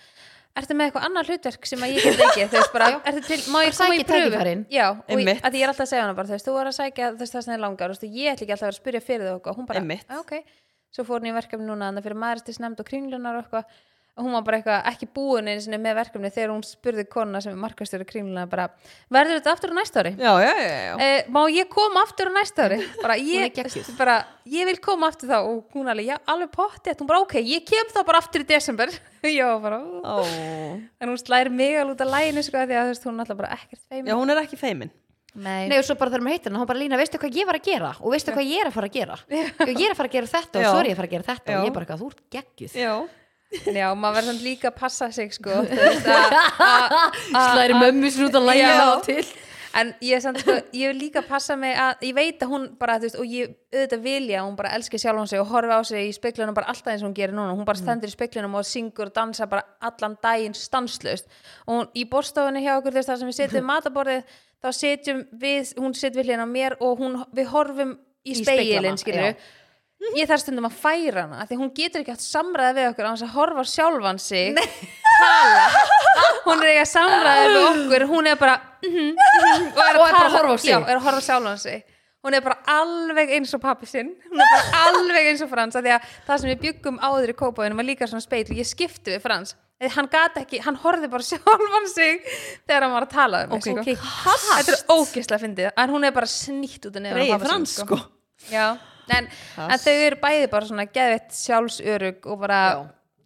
Speaker 3: ertu með eitthvað annað hlutverk sem að ég get leikið þú veist bara, ertu til, má
Speaker 2: Bara
Speaker 3: ég koma í
Speaker 2: sækið
Speaker 3: pröfu
Speaker 2: tækifærin.
Speaker 3: já, og ég,
Speaker 1: Einmitt.
Speaker 3: að ég er alltaf að segja hana bara þú veist, þú er að sækja þess það sem þið langar þú veist, og ég ætla ekki alltaf að vera að spyrja fyrir þau og eitthvað. hún bara,
Speaker 1: Einmitt.
Speaker 3: "Ah, ok, svo fór hún í verkefni núna þannig fyrir maðuristisnefnd og kringlunar og eitthvað og hún var bara eitthvað ekki búin einu sinni með verkefni þegar hún spurði konuna sem er markastjóri kringluna bara, verður þetta aftur á næsta ári?
Speaker 1: já, já, já, já.
Speaker 3: uh, má ég koma aftur á næsta ári bara
Speaker 2: er
Speaker 3: ég,
Speaker 2: geggjuð.
Speaker 3: bara, ég vil koma aftur þá og hún alveg, já, alveg potti hún bara, ok, ég kem þá bara aftur í desember já, bara, ó.
Speaker 1: Ó.
Speaker 3: en hún slær mig alveg út af læginu sko, því að þú veist, hún er alltaf bara ekkert
Speaker 1: já,
Speaker 3: feimin
Speaker 1: hún er ekki feimin
Speaker 3: nei,
Speaker 2: Nei og svo bara þegar maður heitir hana, hún bara lína, veistu hvað ég var að gera og veistu hvað ég er að fara að gera og ég er að fara að gera þetta og
Speaker 1: Já.
Speaker 2: svo er ég að fara að gera þetta
Speaker 1: Já.
Speaker 2: og ég er bara eitthvað, þú ert geggjuð
Speaker 1: já,
Speaker 3: já, maður verður samt líka að passa sig sko, þú veist að
Speaker 2: Slæri mömmu sér út að læja
Speaker 3: Já.
Speaker 2: það til
Speaker 3: En ég, er samt, sko, ég vil líka passa mig að ég veit að hún bara, þú veist, og ég auðvitað vilja að hún bara elski sjálf hún sig og horfi á sig í speklunum bara alltaf eins og hún gerir núna hún bara stendur í speklunum og syngur og dansa bara allan daginn stanslust og hún, í borstofunni hjá okkur þess að sem við setjum mataborðið, þá setjum við hún setjum við hérna á mér og hún, við horfum í,
Speaker 2: Í
Speaker 3: í
Speaker 2: speglana,
Speaker 3: speilin, skilur ég þarf stundum að færa hana af því hún getur ekki haft samræða við okkur á hans að horfa á sjálfan sig tala hún er ekki að samræða við okkur hún er bara mhm, mhm, og
Speaker 2: Og er bara að horfa á sig.
Speaker 3: já, er að horfa á sjálfan sig hún er bara alveg eins og pappi sinn hún er bara alveg eins og Frans af því að það sem við byggum áður í kópaðinu var líka svona speil ég skipti við Frans Eða hann gat ekki, hann horfði bara sjálfan sig þegar hann var að tala um mig
Speaker 2: Ok,
Speaker 3: sko. þetta er ógislega fyndið en hún er bara snýtt út af nefnum á
Speaker 1: Reyði
Speaker 3: pabba sinn,
Speaker 1: frans sko
Speaker 3: Já, en, en
Speaker 1: Pass.
Speaker 3: þau eru bæði bara svona geðveitt sjálfsörug og bara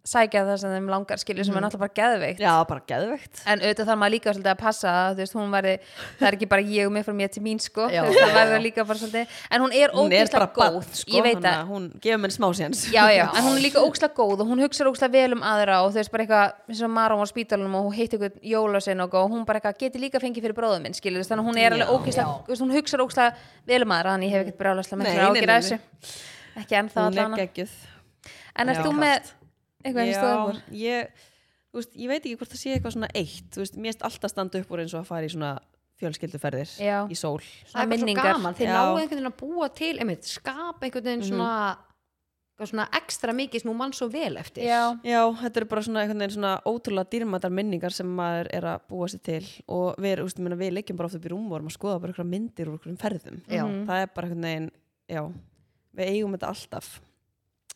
Speaker 3: sækja það sem þeim langar skilju
Speaker 2: Mhm.
Speaker 3: sem er náttúrulega bara geðveikt
Speaker 1: Já, bara geðveikt
Speaker 3: En auðvitað þarf maður líka svolítið að passa að, þú veist, hún verði, það er ekki bara ég og mér frá mér til mín sko,
Speaker 2: Já.
Speaker 3: þú veist, það verður líka bara svolítið, en hún er
Speaker 1: Hún er
Speaker 3: ógeðslega
Speaker 1: bara
Speaker 3: góð,
Speaker 1: góð, sko
Speaker 3: ég veit
Speaker 1: þannig
Speaker 3: það,
Speaker 1: að Hún gefur mér smá séns
Speaker 3: já, já, en hún er líka ógeðslega góð og hún hugsar ógeðslega vel um aðra og þú veist, bara eitthvað, eins og Marum á spítalunum og hún heitti eitthvað jólasinn og hún bara eitthvað geti líka fengið fyrir bróðum minn, skilur, þannig að hún er alveg ógeðslega, þú veist, hún hugsar ógeðslega vel um aðra, þannig ég hef ekkert brjálaslega
Speaker 1: Nei,
Speaker 3: með
Speaker 1: nei,
Speaker 3: þér ágjur
Speaker 1: nei,
Speaker 3: að
Speaker 1: nei.
Speaker 3: þessu, ekki ennþá
Speaker 1: Hún er
Speaker 3: allan,
Speaker 1: geggjuð
Speaker 3: en
Speaker 1: Já.
Speaker 3: erst þú með eitthvað eins og
Speaker 1: Já, ég, þú veist, ég veit ekki hvort það sé eitthvað svona eitt Þú veist, mér erst alltaf standa upp úr eins og að fara í svona fjölskylduferðir
Speaker 3: Já.
Speaker 1: Í sól
Speaker 2: það er bara svo
Speaker 3: minningar.
Speaker 2: gaman, þeir
Speaker 1: Já.
Speaker 2: náu einhvern veginn að búa til einmitt, skapa einhvern veginn svona, eitthvað svona ekstra mikið sem hún mann svo vel eftir
Speaker 3: Já.
Speaker 1: Já, þetta eru bara svona einhvern veginn svona ótrúlega dýrmætar minningar sem maður er að búa sér til og við, úst, minna, við leikjum bara ofta upp í rúm og erum að skoða bara einhverja myndir úr einhverjum ferðum
Speaker 2: Já.
Speaker 1: Mhm. það er bara einhvern veginn, já við eigum þetta alltaf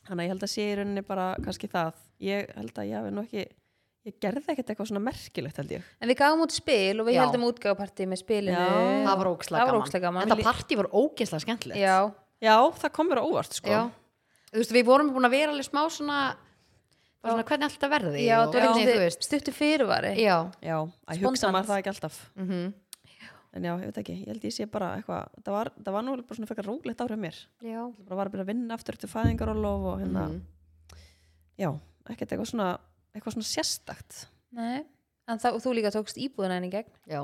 Speaker 1: þannig að ég held að sé í rauninni bara kannski það ég held að ég hafi nú ekki ég gerði ekkert eitthvað svona merkilegt held ég
Speaker 3: En við gafum út spil og við
Speaker 2: Já.
Speaker 3: heldum útgáfapartí með spilinu.
Speaker 1: Já.
Speaker 2: það var ógislega
Speaker 3: Það var
Speaker 2: gaman.
Speaker 3: ógeðslega gaman.
Speaker 2: þetta partí var ógislega skemmtilegt
Speaker 3: Já,
Speaker 1: Já, það kom mér á óvart sko
Speaker 2: Já. Þú veist, við vorum búin að vera alveg smá svona, bara svona hvernig alltaf verði
Speaker 3: já,
Speaker 2: og
Speaker 3: það var
Speaker 2: hvernig, þú
Speaker 3: ekki
Speaker 2: veist
Speaker 3: stuttu fyrirvari.
Speaker 2: já, Mhm.
Speaker 1: Já, að hugsa
Speaker 3: Spontant.
Speaker 1: maður það ekki alltaf En já, ég veit ekki, ég held ég sé bara eitthvað það var, það var nú bara svona frekar rólegt árið mér
Speaker 2: já.
Speaker 1: bara var að byrja að vinna aftur til fæðingarólof og hérna
Speaker 2: Mhm.
Speaker 1: já, ekkert eitthvað svona eitthvað svona sérstakt
Speaker 3: Nei, en það, og þú líka tókst íbúðina henni gegn.
Speaker 2: já.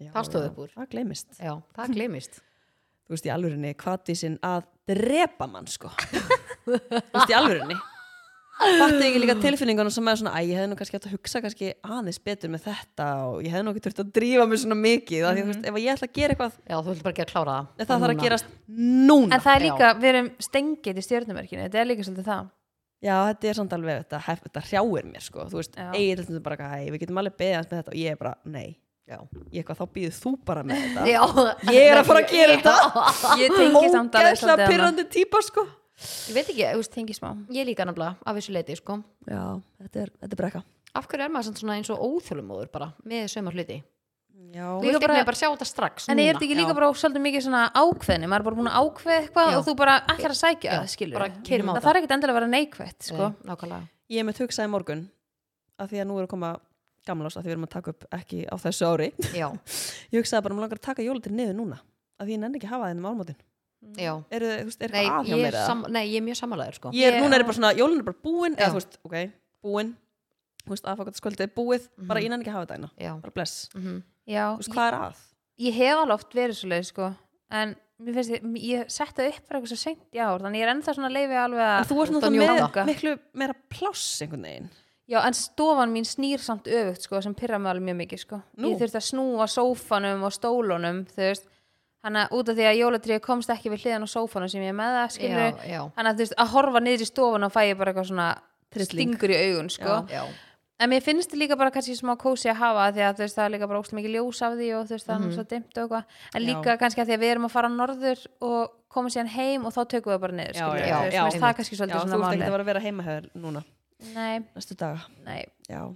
Speaker 1: já,
Speaker 2: Það stóð
Speaker 1: já,
Speaker 2: upp úr.
Speaker 1: það gleymist,
Speaker 2: já. það glemist
Speaker 1: þú veist í alvörinni kvatísin að drepa mann sko þú veist í alvörinni Fattu ekki líka tilfinningunum sem er svona æ, ég hefði nú kannski átt að hugsa kannski aðeins betur með þetta og ég hefði nú ekki þurft að drífa mig svona mikið af því að þú veist, ef ég ætla að gera eitthvað
Speaker 2: já, þú ætlum bara ekki að klára það
Speaker 1: það þarf að
Speaker 2: Mhm. Núna.
Speaker 1: gerast núna
Speaker 3: En það er líka, við erum stengið í stjörnumerkinu, þetta er líka svolítið það.
Speaker 1: Já, þetta er samt alveg, þetta, hef- þetta hrjáir mér sko, þú veist,
Speaker 3: Já.
Speaker 1: eigið þetta bara eitthvað, "Æ, við getum alveg beðið hans með þetta og ég er bara, nei,
Speaker 2: já.
Speaker 1: ég eitthvað, þá býður þú bara með þetta
Speaker 2: Já.
Speaker 1: ég er að fara að gera þetta
Speaker 3: Ég tengi samt alveg
Speaker 1: ógæðslega
Speaker 3: svolítið
Speaker 1: pyrrandi típa sko
Speaker 2: ég veit ekki, þú veist,
Speaker 3: Tengi smá.
Speaker 2: ég líka nefnilega af þessu leiti sko.
Speaker 1: já, þetta er, þetta er brekka
Speaker 2: af hverju er maður samt svona eins og óþjólumóður bara með sömur hluti
Speaker 1: já,
Speaker 2: þú vilt
Speaker 3: bara-
Speaker 2: ekki bara sjá þetta strax
Speaker 3: En
Speaker 2: núna.
Speaker 3: er þetta ekki líka
Speaker 2: Já.
Speaker 3: bara svolítið mikið svona ákveðni, maður er bara búin að ákveða eitthvað
Speaker 2: Já.
Speaker 3: og þú bara ætlar að sækja það, skilur.
Speaker 2: bara keyrum á
Speaker 3: það
Speaker 2: þetta.
Speaker 3: þarf ekkert endilega að vera neikvætt, sko.
Speaker 2: Nei, nákvæmlega
Speaker 1: ég er með hugsaði morgun að því að nú eru að koma gamlás að því við erum að taka upp ekki á þessu ári
Speaker 2: já,
Speaker 1: ég hugsaði bara, mér langar að taka jólitir niður núna að því ég nenni ekki að hafa þeim álmótin
Speaker 2: já.
Speaker 1: er, er, Mm. er
Speaker 2: Nei,
Speaker 1: eitthvað að hjá
Speaker 2: ég
Speaker 1: mér
Speaker 2: er
Speaker 1: eða?
Speaker 2: sam, nei, ég er mjög samanlegaður sko.
Speaker 1: ég er,
Speaker 3: Ég-
Speaker 1: núna er ég bara svona, jólun er bara búin eða
Speaker 2: Já.
Speaker 1: þú veist, ok, búin þú veist, aðfakataskvöldið er búið bara ég nenni ekki að hafa þetta hérna,
Speaker 2: já.
Speaker 1: bara bless þú
Speaker 2: Mm
Speaker 3: Já,
Speaker 1: veist, hvað er að?
Speaker 3: ég hef alveg oft verið svoleið sko en mér finnst ég, ég setta upp bara eitthvað svo seint í ár þannig ég er ennþá svona leiði alveg
Speaker 1: En
Speaker 3: Ah, að
Speaker 1: þú ert
Speaker 2: ert að
Speaker 1: náttúrulega
Speaker 3: njóta.
Speaker 1: með miklu meira pláss einhvern veginn
Speaker 3: já en stofan mín snýr samt öfugt sko sem pyrra mig alveg mjög mikið sko
Speaker 1: Nú.
Speaker 3: ég þurfti að snúa sófanum og stólunum þú veist þannig að út af því að jólatrið komst ekki við hliðan á sófanum sem ég er með það skilur
Speaker 2: já, já,
Speaker 3: þannig að þú veist að horfa niður í stofan og fæ ég bara eitthvað svona
Speaker 1: Trilling.
Speaker 3: stingur í augun sko
Speaker 2: já.
Speaker 3: en mér finnst þetta líka bara kannski smá kósi að hafa því að þú veist það er líka bara óslega mikið ljós af því og þú veist það er svo dimmt og eitthvað en
Speaker 1: Mhm. Já.
Speaker 3: líka kannski að því að við erum að fara norður og komum síðan heim og þá tökum við bara niður skilurðu.
Speaker 2: já,
Speaker 3: Þú veist,
Speaker 2: já,
Speaker 3: mér finnst það er kannski
Speaker 1: Já,
Speaker 3: svolítið
Speaker 1: þú
Speaker 3: svona
Speaker 1: ert ekkert að
Speaker 3: vanlega
Speaker 1: vera að vera heimahöður núna
Speaker 3: nei,
Speaker 1: næstu daga,
Speaker 3: nei,
Speaker 1: já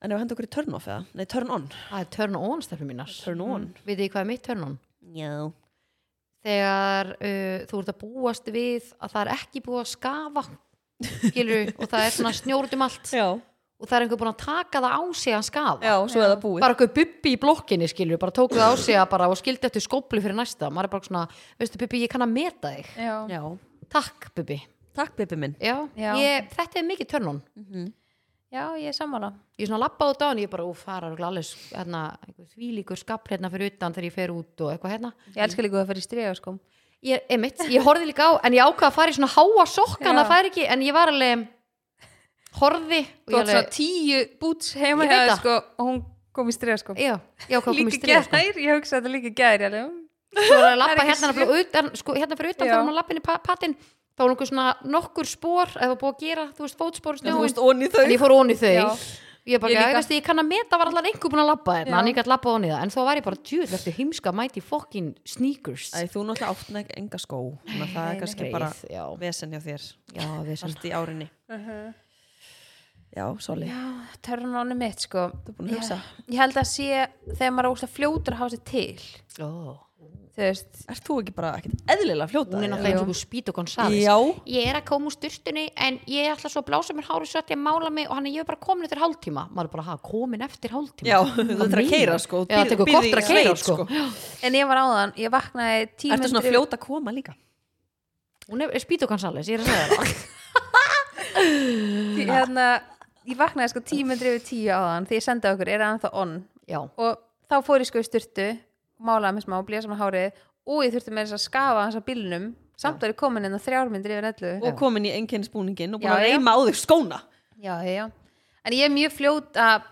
Speaker 1: En ef að henda okkur í turn off eða? Nei, turn on
Speaker 2: það er törn og ónstefnum mínar
Speaker 1: Turn on
Speaker 2: veit ég hvað er mitt törn on
Speaker 1: Já
Speaker 2: þegar uh, þú ert að búast við að það er ekki búið að skafa skilur, og það er svona snjórutum allt
Speaker 1: Já,
Speaker 2: og það er einhver búin að taka það á sig að skafa
Speaker 1: já svo er það búið
Speaker 2: bara einhver bubbi í blokkinni skilur bara tóku það á sig að bara og skildi eftir skóplu fyrir næsta maður er bara svona, veistu bubbi ég kann að meta þig
Speaker 3: já,
Speaker 1: Já,
Speaker 2: takk bubbi
Speaker 1: takk Bibi minn
Speaker 2: Já,
Speaker 3: Já.
Speaker 2: Ég, þetta er mikið törn on
Speaker 3: já, ég er sammála
Speaker 2: ég svona lappa út á hann, ég bara úf, það er örugglega alveg s- hérna, einhver þvílíkur skap hérna fyrir utan þegar ég fer út og eitthvað hérna
Speaker 3: ég elska líka að fara í stríða sko
Speaker 2: ég, einmitt, ég horfði líka á, en ég ákvað að fara í svona háa sokkan,
Speaker 3: Já.
Speaker 2: það fær ekki, en ég var alveg horfði og
Speaker 3: þú
Speaker 2: ég
Speaker 3: átt svona
Speaker 2: alveg,
Speaker 3: tíu búts
Speaker 2: Ég
Speaker 3: heima
Speaker 2: veit
Speaker 3: hjá
Speaker 2: það.
Speaker 3: sko og hún kom í stríða sko
Speaker 2: já, ég ákvað að koma í
Speaker 3: líka
Speaker 2: stríða sko.
Speaker 3: gær, ég hugsa þetta líka gær ég alveg.
Speaker 2: svo var að lappa
Speaker 3: ekki
Speaker 2: hérna, blá, utan, sko, hérna fyrir utan
Speaker 3: Já.
Speaker 2: þegar maður lappin í pa patin þá var einhver svona nokkur spór, eða búið að gera þú veist, fótspór í
Speaker 1: Þú
Speaker 2: snjóin
Speaker 1: veist, onni þau
Speaker 2: en ég fór ón í þau
Speaker 3: Já.
Speaker 2: ég ég bara,
Speaker 3: Ég
Speaker 2: ég,
Speaker 3: líka.
Speaker 2: veist, ég kann að meta var allan einhver búin að labba
Speaker 3: Já.
Speaker 2: þarna en ég gæti labbað á niða, en þá var ég bara djúð eftir heimska mæti fokkin sneakers
Speaker 1: Æ, þú náttúrulega átt nek- enga skó þannig að það
Speaker 3: nei,
Speaker 1: er
Speaker 3: nei.
Speaker 1: kannski
Speaker 2: Greið,
Speaker 1: bara
Speaker 2: já,
Speaker 1: vesen hjá þér
Speaker 2: já, við sem
Speaker 1: allt í árinni Uh-huh. Já, svolí,
Speaker 3: Já, törnónu mitt sko
Speaker 1: þú er búin að hugsa
Speaker 3: Ég held að sé þegar maður er óslega fljótur að hafa sér til
Speaker 2: Ó.
Speaker 3: Þú veist,
Speaker 1: Ert þú ekki bara ekkert eðlilega fljóta?
Speaker 2: hún er
Speaker 1: eða?
Speaker 2: náttúrulega eins og einhver Spítu Gonzales
Speaker 1: Já.
Speaker 2: ég er að koma úr styrtunni en ég ætla svo að blása mér hári svo að ég mála mig og hann er ég er bara komin eftir hálftíma maður er bara að komin eftir hálftíma
Speaker 1: Já, þú þarf að keira sko
Speaker 2: já, það tekur kortur að keira sko.
Speaker 3: en ég var áðan, ég vaknaði tíu
Speaker 1: Ertu svona
Speaker 3: mínútur yfir-
Speaker 1: fljóta að koma líka?
Speaker 2: hún er Spítu Gonzales, ég er að segja það
Speaker 3: Ég- hérna, ég vaknaði sko tímundri yfir tíu áðan því ég sendi okkur, er hann þá on
Speaker 2: já,
Speaker 3: og þá fór ég sko í styrtu málaði mér smá, blíða saman hárið og ég þurfti með þess að skafa hans á bílnum samt var ég komin inn á þrjármyndri yfir ellu
Speaker 1: Og komin í einkennisbúningin og búin
Speaker 3: Já,
Speaker 1: að
Speaker 3: já.
Speaker 1: reyma á þig skóna
Speaker 3: já, já, já, en ég er mjög fljót að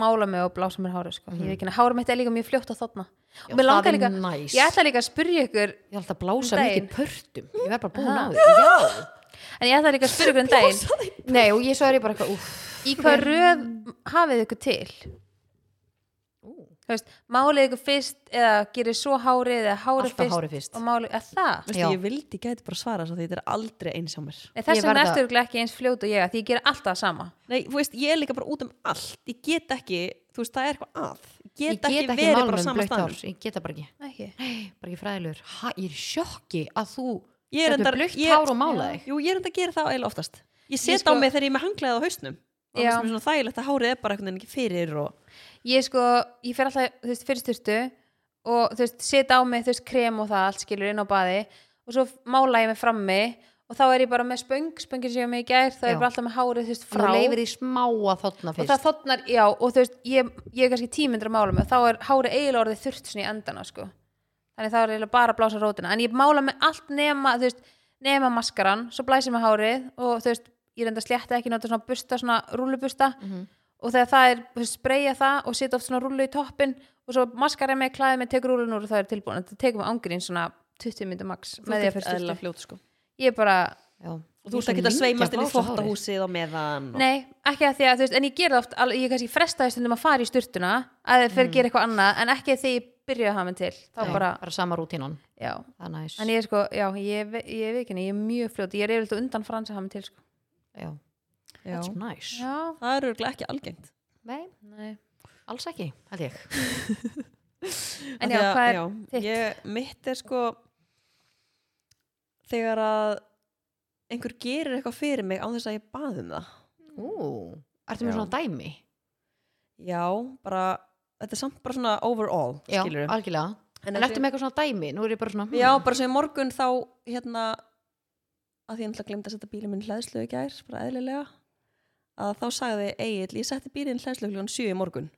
Speaker 3: mála mig og blása mér hárið sko. mm. ég veit ekki, hárið mitt er líka mjög fljótt að þotna
Speaker 2: Já,
Speaker 3: og
Speaker 2: það
Speaker 3: mér
Speaker 2: er
Speaker 3: langar líka,
Speaker 2: næs.
Speaker 3: ég ætla líka að spurja ykkur
Speaker 2: ég ætla að blása
Speaker 3: Um
Speaker 2: mikið
Speaker 3: daginn.
Speaker 2: í pörtum ég verð bara búin á því já.
Speaker 3: en ég ætla líka að spurja ykkur um daginn
Speaker 2: nei, og ég svo er ég bara eitthvað úff
Speaker 3: í hvað röð hafið ykkur til Þú veist, málið ykkur fyrst eða gerir svo hárið eða hárið
Speaker 2: Alltaf
Speaker 3: fyrst,
Speaker 2: hárið fyrst.
Speaker 3: og málið, eða það
Speaker 1: Veistu,
Speaker 2: Já.
Speaker 1: ég vildi gæti bara svara svo því þetta er aldrei eins hjá mér
Speaker 3: Nei,
Speaker 2: Ég
Speaker 3: þess vegna
Speaker 2: verð
Speaker 3: ertu
Speaker 2: að-
Speaker 3: örugglega ekki eins fljót og ég að því ég ger alltaf sama
Speaker 1: Nei, þú veist, ég er líka bara út um allt Ég get ekki, þú veist, það er eitthvað að Ég get,
Speaker 2: ég get ekki,
Speaker 1: verið bara
Speaker 2: mála
Speaker 1: á
Speaker 2: mig um
Speaker 1: sama
Speaker 2: blöitt hár
Speaker 1: staðnum
Speaker 2: ég get það bara ekki,
Speaker 3: ekki.
Speaker 2: bara ekki fræðilegur ha, ég er í sjokki að þú
Speaker 1: Ég er
Speaker 2: Þetta er
Speaker 1: reyndar-
Speaker 2: blautt
Speaker 1: ég-
Speaker 2: hár og mála þig.
Speaker 1: Jú, ég er enda að gera það eiginlega oftast Ég set
Speaker 3: Ég sko-
Speaker 1: á mig þegar ég er með hanglaðið á hausnum Það
Speaker 3: Já.
Speaker 1: er svona þægilegt að hárið er bara einhvern veginn ekki fyrir og...
Speaker 3: ég sko, ég fer alltaf þú veist, fyrir styrtu og þú veist, setja á mig þú veist, krem og það allt skilur inn á baði og svo mála ég mig frammi og þá er ég bara með spöng, spöngin sem ég var með í gær þá
Speaker 2: Já.
Speaker 3: er ég bara alltaf með hárið þú veist,
Speaker 2: frá
Speaker 3: frá
Speaker 2: leifir í smá að þotna
Speaker 3: og
Speaker 2: fyrst
Speaker 3: það þotnar, já, og þú veist ég, ég er kannski tímyndur að mála mig og þá er hárið eiginlega orðið þurft svona í endana sko. þannig þá er eiginlega bara að blása rótina en ég mála mig allt nema þú veist, nema maskaran, svo blæsir mig hárið og þú veist, ég reynda slétta ekki nota svona busta, svona rúlubusta og þegar það er, þú veist, spreyja það og setja oft svona rúlu í toppin og svo maskara mig, klæði mig, tekur rúlun úr og það er tilbúin þetta tekur mig ángurinn svona 20 myndir max með því að fyrst
Speaker 1: eðla
Speaker 3: styrstu
Speaker 1: fljót sko
Speaker 3: ég er bara,
Speaker 2: Já.
Speaker 1: Og þú ert ekki að sveimast inn í þvottahúsið á meðan og...
Speaker 3: Nei, ekki að því að þú veist, en ég ger það oft al- ég kannski frestaði stundum að fara í sturtuna að það fyrir að gera eitthvað annað, en ekki þegar ég byrja að hafa mig til,
Speaker 2: Mm.
Speaker 3: þá
Speaker 2: bara,
Speaker 3: bara,
Speaker 2: bara sama rútínan
Speaker 3: já
Speaker 2: það er næs
Speaker 3: en ég er sko, já, ég, ve- ég veit ekki, ég er mjög fljót ég er yfirleitt á undan frans að hafa mig til, sko
Speaker 2: já,
Speaker 1: Já.
Speaker 2: that's nice
Speaker 3: Já,
Speaker 1: Það er örglega ekki algengt
Speaker 2: nei,
Speaker 3: nei
Speaker 2: alls ekki, held ég
Speaker 1: Af
Speaker 3: En
Speaker 1: því
Speaker 3: já,
Speaker 1: að-
Speaker 3: hvað er
Speaker 1: já,
Speaker 3: þitt?
Speaker 1: Ég, mitt er sko þegar að einhver gerir eitthvað fyrir mig án þess að ég baði um það
Speaker 2: Ú, ertu með
Speaker 1: Já.
Speaker 2: svona dæmi?
Speaker 1: Já, bara þetta er samt bara svona overall
Speaker 2: Já,
Speaker 1: skilurðu.
Speaker 2: algjörlega En,
Speaker 1: eins og
Speaker 2: ertu með eitthvað svona dæmi? Nú er ég bara svona hmm.
Speaker 1: Já, bara sem í morgun þá hérna að því ég náttúrulega glemd að setja bílinn minn í hlæðslu í gær, bara eðlilega að þá sagði Egil, ég setti bílinn í hlæðslu klukkan 7 í morgun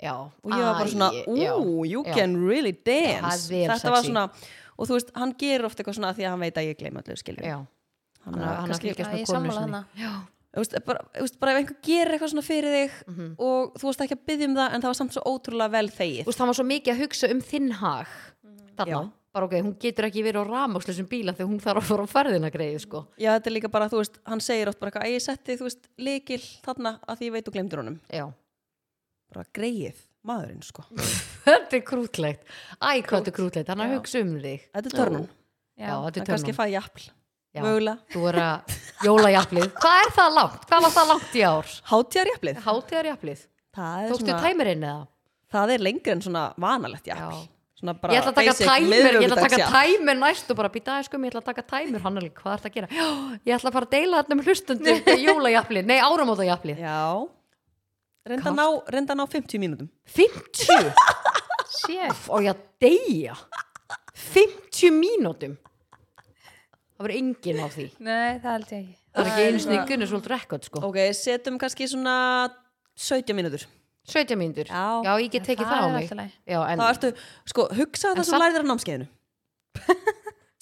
Speaker 2: já.
Speaker 1: og ég var bara svona, ú, you
Speaker 2: já.
Speaker 1: can really dance
Speaker 2: Það er vel
Speaker 1: þetta var
Speaker 2: sexy.
Speaker 1: svona, og þú veist, hann gerir oft eitthvað svona af því að hann veit að ég gleyma allir
Speaker 2: Já,
Speaker 1: skilur
Speaker 2: já.
Speaker 1: hann,
Speaker 2: hann er hann er að
Speaker 1: kannski,
Speaker 2: fylgjast
Speaker 3: Já,
Speaker 2: með
Speaker 3: ég
Speaker 2: konu
Speaker 3: sammála
Speaker 2: sinni
Speaker 3: hana.
Speaker 2: Já,
Speaker 1: þú veist, bara, þú veist, bara ef einhver gerir eitthvað svona fyrir þig
Speaker 2: mhm.
Speaker 1: og þú veist ekki að byggja um það en það var samt svo ótrúlega vel
Speaker 2: Þú
Speaker 1: þegið
Speaker 2: veist, hann var svo mikið að hugsa um þinn hag Þarna,
Speaker 1: Já.
Speaker 2: bara ok, hún getur ekki verið á rafmakslusum bíla þegar hún þarf að fara á ferðina greið sko.
Speaker 1: já, þetta er líka bara, þú veist, hann segir oft bara eitthvað, "Æ, ég setti, þú veist, likil þarna að því ég veit og glemdur honum
Speaker 2: Já,
Speaker 1: bara greið, maðurinn, sko
Speaker 2: þetta er krútlegt Æ, hvað þetta er krútlegt, hann er að hugsa um þig
Speaker 1: þetta er törnum,
Speaker 2: Já,
Speaker 1: en
Speaker 2: þetta er törnum
Speaker 1: kannski fæ ég appl
Speaker 2: Já.
Speaker 1: mögulega,
Speaker 2: Þú er að jólajaflið Hvað er það langt? Hvað var það langt í ár?
Speaker 1: hátíðarjaplið
Speaker 2: Hátíðarjaflið
Speaker 1: það er,
Speaker 2: Tókstu
Speaker 1: svona,
Speaker 2: tæmirinn eða?
Speaker 1: það er lengri en svona vanalegt japl
Speaker 2: Já.
Speaker 1: svona bara
Speaker 2: Ég ætla að taka
Speaker 1: basic
Speaker 2: tæmir, ég ætla að taka
Speaker 1: miðvikudagsjafl.
Speaker 2: tæmir næst og bara býta aðeins um, ég ætla að taka tæmir hann er alveg, hvað ert að gera? Já, ég ætla að fara að deila þarna um hlustundu jólajaflið, nei áramótajaflið
Speaker 1: já reynda að ná, reynda að ná 50 mínútum
Speaker 2: 50
Speaker 3: Sér,
Speaker 2: og ég að deyja 50 mínútum Það verður enginn á því
Speaker 3: nei, það held ég ekki
Speaker 2: Það er ekki einu
Speaker 3: svona-
Speaker 2: sinni Gunnars World Record sko
Speaker 1: ok, setjum kannski svona 17 mínútur
Speaker 2: 17 mínútur,
Speaker 1: Já.
Speaker 2: já ég get tekið
Speaker 3: Það
Speaker 2: það á
Speaker 3: er
Speaker 2: mig
Speaker 3: alltaf leið.
Speaker 2: Já, en,
Speaker 1: þá ertu, sko, hugsa
Speaker 2: En
Speaker 1: það sem
Speaker 2: samt-
Speaker 1: lærið er á námskeiðinu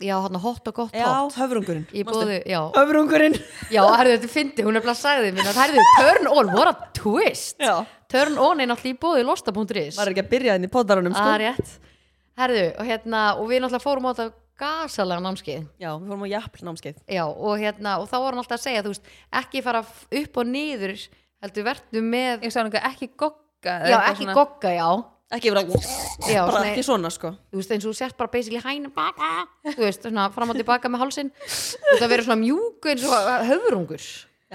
Speaker 2: já hann hot og gott
Speaker 1: já,
Speaker 2: hot
Speaker 1: höfrungurinn
Speaker 2: Ég
Speaker 1: Manstu?
Speaker 2: bóði, já,
Speaker 1: höfrungurinn
Speaker 2: já, herðu þetta fyndi, hún er bara sagði mér að herðu, turn on, what a twist
Speaker 1: já,
Speaker 2: Turn on er náttúrulega í bóði losta.is
Speaker 1: maður er ekki að byrja þinn í poddarunum
Speaker 2: Það er
Speaker 1: sko.
Speaker 2: rétt Herðu, og hérna, og við náttúrulega fórum á þetta gasalega námskeið
Speaker 1: já, við fórum á jafl námskeið
Speaker 2: Já, og hérna, og þá var hann alltaf að segja, þú veist, ekki fara f- upp og niður heldur verðu með
Speaker 3: ég sá hann eitthvað ekki gogga eða
Speaker 2: já,
Speaker 3: eitthvað
Speaker 2: ekki
Speaker 3: svona.
Speaker 2: gogga, já
Speaker 1: ekki vera
Speaker 2: Já,
Speaker 1: bara
Speaker 2: svona-
Speaker 1: ekki svona sko
Speaker 2: þú veist, eins og þú sért bara basically hæna baka, þú veist, svona fram og tilbaka með hálsin og það verður svona mjúk eins og höfurungur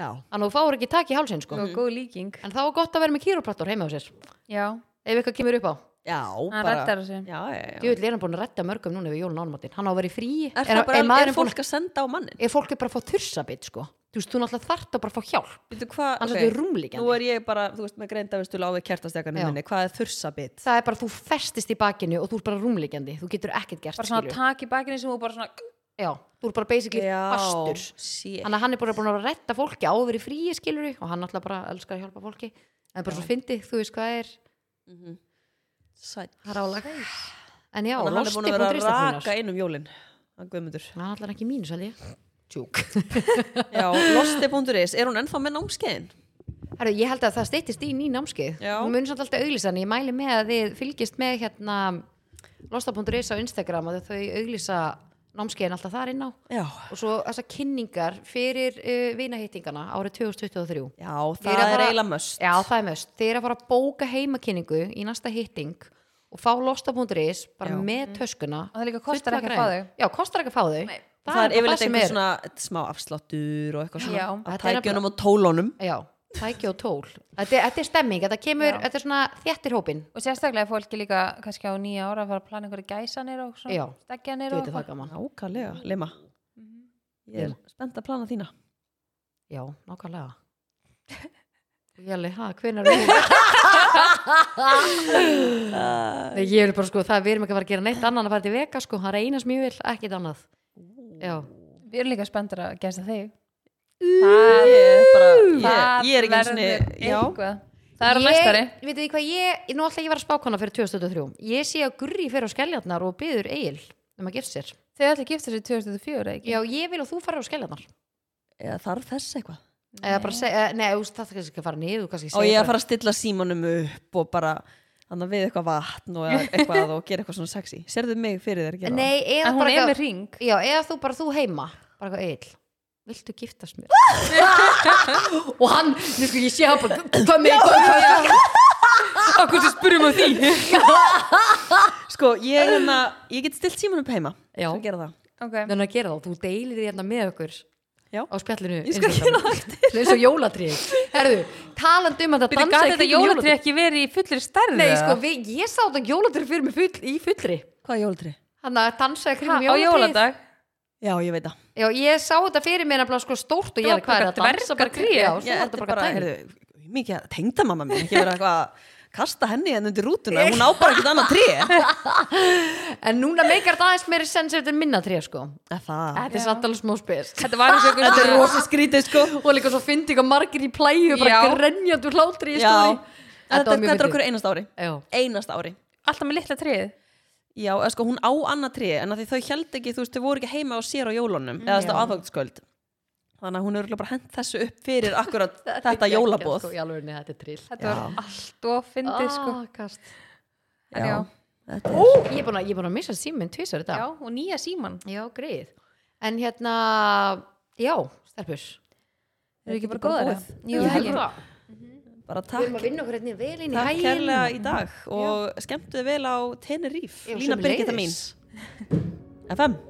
Speaker 2: þannig
Speaker 1: já,
Speaker 2: að þú fáir ekki tak í hálsin, sko
Speaker 3: það var góð líking
Speaker 2: en þá er gott að vera með kýróprattor heima á sér
Speaker 3: já,
Speaker 2: ef eitthvað kemur upp á,
Speaker 1: já
Speaker 3: hann
Speaker 1: bara-
Speaker 3: rettar þessu
Speaker 1: já, já, já.
Speaker 2: djúvill er hann búin að redda mörgum núna við jólun ánumáttin, hann á að vera í frí
Speaker 1: er það bara, um-
Speaker 2: maðurinn
Speaker 1: er fólk að senda á mannin
Speaker 2: búin, er fólk er bara að fá þursabit, sko þú veist, þú náttúrulega þart að bara fá hjálp
Speaker 1: Veitu hvað,
Speaker 2: annars
Speaker 1: ok,
Speaker 2: okay. er rúmlíkjandi,
Speaker 1: nú er ég bara, þú veist, með greindavistul á við kertastekanu
Speaker 2: Já.
Speaker 1: minni, hvað er þursabit
Speaker 2: það er bara þú festist í bakinu og þú er bara rúmlíkjandi, þú getur ekkert gert
Speaker 3: bara svona
Speaker 2: skilurðu.
Speaker 3: tak í bakinu sem þú bara svona
Speaker 2: Já, þú er bara basically fastur
Speaker 1: shit.
Speaker 2: Þannig að hann er bara búin að retta fólki áður í fríi skilur og hann alltaf bara elskar að hjálpa fólki en bara svo fyndið, þú veist hvað er
Speaker 1: Sæll.
Speaker 2: það er álag En já,
Speaker 1: Þannig að hann er búin að vera að raka
Speaker 2: losti.ristaklunar
Speaker 1: inn um jólin hann guðmundur
Speaker 2: Hann er allar ekki í mínus, held ég Tjúk
Speaker 1: já, losti.is, er hún ennþá með námskeiðin?
Speaker 2: Herru, ég held að það steyttist í ný námskeið
Speaker 1: Já.
Speaker 2: Hún mun samt alltaf auglýsa en ég mæli með að þið fylgist með hérna losta.is á Instagram og þau auglýsa námskeiðin alltaf þar inn á
Speaker 1: já,
Speaker 2: og svo þessar kynningar fyrir uh, vinahittingana árið 2023
Speaker 1: já
Speaker 2: Ég
Speaker 1: það er
Speaker 2: að fara-
Speaker 1: eiginlega möst
Speaker 2: Já, það er möst. Þeir eru að fara að bóka heimakynningu í næsta hitting og fá losta.is bara
Speaker 1: Já. Mm.
Speaker 2: með töskuna.
Speaker 3: Og það líka kostar
Speaker 2: Fulla
Speaker 3: ekki að fá
Speaker 2: græða.
Speaker 3: þau.
Speaker 2: Já, kostar ekki að fá þau.
Speaker 3: Nei.
Speaker 1: það, er
Speaker 2: bara
Speaker 1: yfirleitt
Speaker 2: sem
Speaker 1: einhver svona smá afsláttur og eitthvað svona
Speaker 3: Já.
Speaker 1: að
Speaker 2: Þetta er
Speaker 1: tækjunum og tólónum
Speaker 2: Já, tæki og tól. Þetta er, þetta er stemming, þetta kemur,
Speaker 3: Já.
Speaker 2: þetta er svona þjættir hópin.
Speaker 3: og sérstaklega er fólki líka kannski á nýja ára að fara að plana einhverju gæsanir og
Speaker 2: Já.
Speaker 3: svona steggjanir
Speaker 2: Þú
Speaker 3: og Mhm.
Speaker 2: veitir það gaman.
Speaker 1: nákvæmlega, lima ég er spennt að plana þína
Speaker 2: Já, nákvæmlega. Jæli, hæ, hvernig er það? Nei, ég er bara sko, það við erum ekki að fara að gera neitt annan að fara til veka sko, það reynast mjög vel, ekkit annað. Já,
Speaker 3: eitthvað við erum líka spenntur að gæsa þig
Speaker 1: ég er bara ég,
Speaker 3: Það
Speaker 1: ég er ekki eins
Speaker 3: verður
Speaker 1: og já,
Speaker 3: eitthvað. það er á
Speaker 2: Ég-
Speaker 3: næstari
Speaker 2: Vitið þið hvað ég, nú ætla ég að vera spákona fyrir 2023 Ég sé að Gurri fer á skelljarnar og byður Egil um að gifta sér
Speaker 3: þau ætla að gifta sér 2004 ekki
Speaker 2: Já, ég vil að þú fara á skelljarnar
Speaker 1: Eða þarf þess eitthvað
Speaker 2: Eða bara segja, eh, nei, þú veist, það er kannski ekki að fara niður þú kannski
Speaker 1: og
Speaker 2: segir
Speaker 1: ég er að
Speaker 2: bara-
Speaker 1: fara að stilla símanum upp og bara hann við eitthvað vatn og eitthvað og gera eitthvað svona sexy serðu mig fyrir þér að gera
Speaker 2: Nei, eða bara
Speaker 3: en hún er
Speaker 2: eitthvað-
Speaker 3: með ring
Speaker 2: Já, eða þú bara þú heima Bara eitthvað Egil Viltu giftast mér? og hann, nú sko ég sé hann bara Hvað með, hvað með
Speaker 3: okkur sem spurum á því
Speaker 1: það sko ég, hérna, ég get stillt símanum upp heima
Speaker 2: Já.
Speaker 1: Skal gera það
Speaker 3: ok,
Speaker 2: Þannig að gera það, þú deilir því hérna með okkur
Speaker 1: Já.
Speaker 2: á spjallinu
Speaker 1: Ég skal
Speaker 2: Instagram. eins og jólatrið Herðu, talandi um að það
Speaker 3: byrja
Speaker 2: dansa
Speaker 3: gæti
Speaker 2: í
Speaker 3: þetta
Speaker 2: kringum
Speaker 3: jólatri ekki verið í fullir stærð
Speaker 2: Nei,
Speaker 3: eða?
Speaker 2: sko, við, ég sá þetta jólatri fyrir mig full, í fullri
Speaker 1: hvað er jólatri?
Speaker 2: Þannig að dansa
Speaker 3: Ha,
Speaker 2: kringum
Speaker 3: á
Speaker 2: jólatrið
Speaker 3: jóladag
Speaker 1: já ég veit það
Speaker 2: Já, ég sá þetta fyrir mér nefnilega sko stórt og ég er
Speaker 3: Dropa
Speaker 2: hvað er
Speaker 3: eitthvað
Speaker 2: að dansa bara
Speaker 3: dvergatré?
Speaker 2: kringum Já, svo
Speaker 1: ég,
Speaker 2: er
Speaker 1: þetta
Speaker 2: þetta bara tæmi
Speaker 1: heyrðu, mikið tengda mamma mín ekki vera eitthvað að kasta henni henni undir rútuna hún á bara ekkert annað tré
Speaker 2: En núna meikar þetta aðeins meiri sens eftir minna tré, sko
Speaker 1: Eða það
Speaker 2: Þetta er samt alveg smá spes
Speaker 3: þetta var eins og einhver
Speaker 1: Ah. þetta er
Speaker 3: svona-
Speaker 1: rosa skrítið sko
Speaker 2: Og líka svo fyndi ykkur margir í plæju bara
Speaker 3: Já.
Speaker 2: grenjandur hlátri í
Speaker 1: já
Speaker 2: stóri
Speaker 1: þetta er hvað er okkur einast ári
Speaker 2: Já,
Speaker 1: einast ári
Speaker 3: alltaf með litla tríð
Speaker 1: Já, eða sko hún á annað tré en að því þau held ekki, þú veist, þau voru ekki heima á sér á jólunum eða þess að aðvöldskvöld þannig að hún er örugglega bara hent þessu upp fyrir akkurat þetta jólabóð
Speaker 2: Sko, í alvegni, þetta er trill
Speaker 3: þetta var allt of fyndið sko
Speaker 2: Ah, kast.
Speaker 3: En já.
Speaker 1: þetta
Speaker 2: Ó,
Speaker 1: er
Speaker 2: Ég er búin að, ég er búin að missa síminn tvisar þetta
Speaker 3: Ah. já, og nýja síman
Speaker 2: Já, greið. En hérna, já, stelpur.
Speaker 3: Eru ekki bara
Speaker 1: bara
Speaker 3: góðar?
Speaker 1: búið.
Speaker 3: eða? Jú,
Speaker 2: Ég
Speaker 3: það
Speaker 2: held
Speaker 3: ekki.
Speaker 2: það.
Speaker 1: bara
Speaker 2: Við erum
Speaker 1: takk,
Speaker 2: að vinna okkur hérna vel inn í
Speaker 1: takk
Speaker 2: hæginn.
Speaker 1: kærlega í dag og skemmtuðu vel á Teneríf,
Speaker 2: Já,
Speaker 1: Lína
Speaker 2: sömuleiðis.
Speaker 1: Birgitta mín FM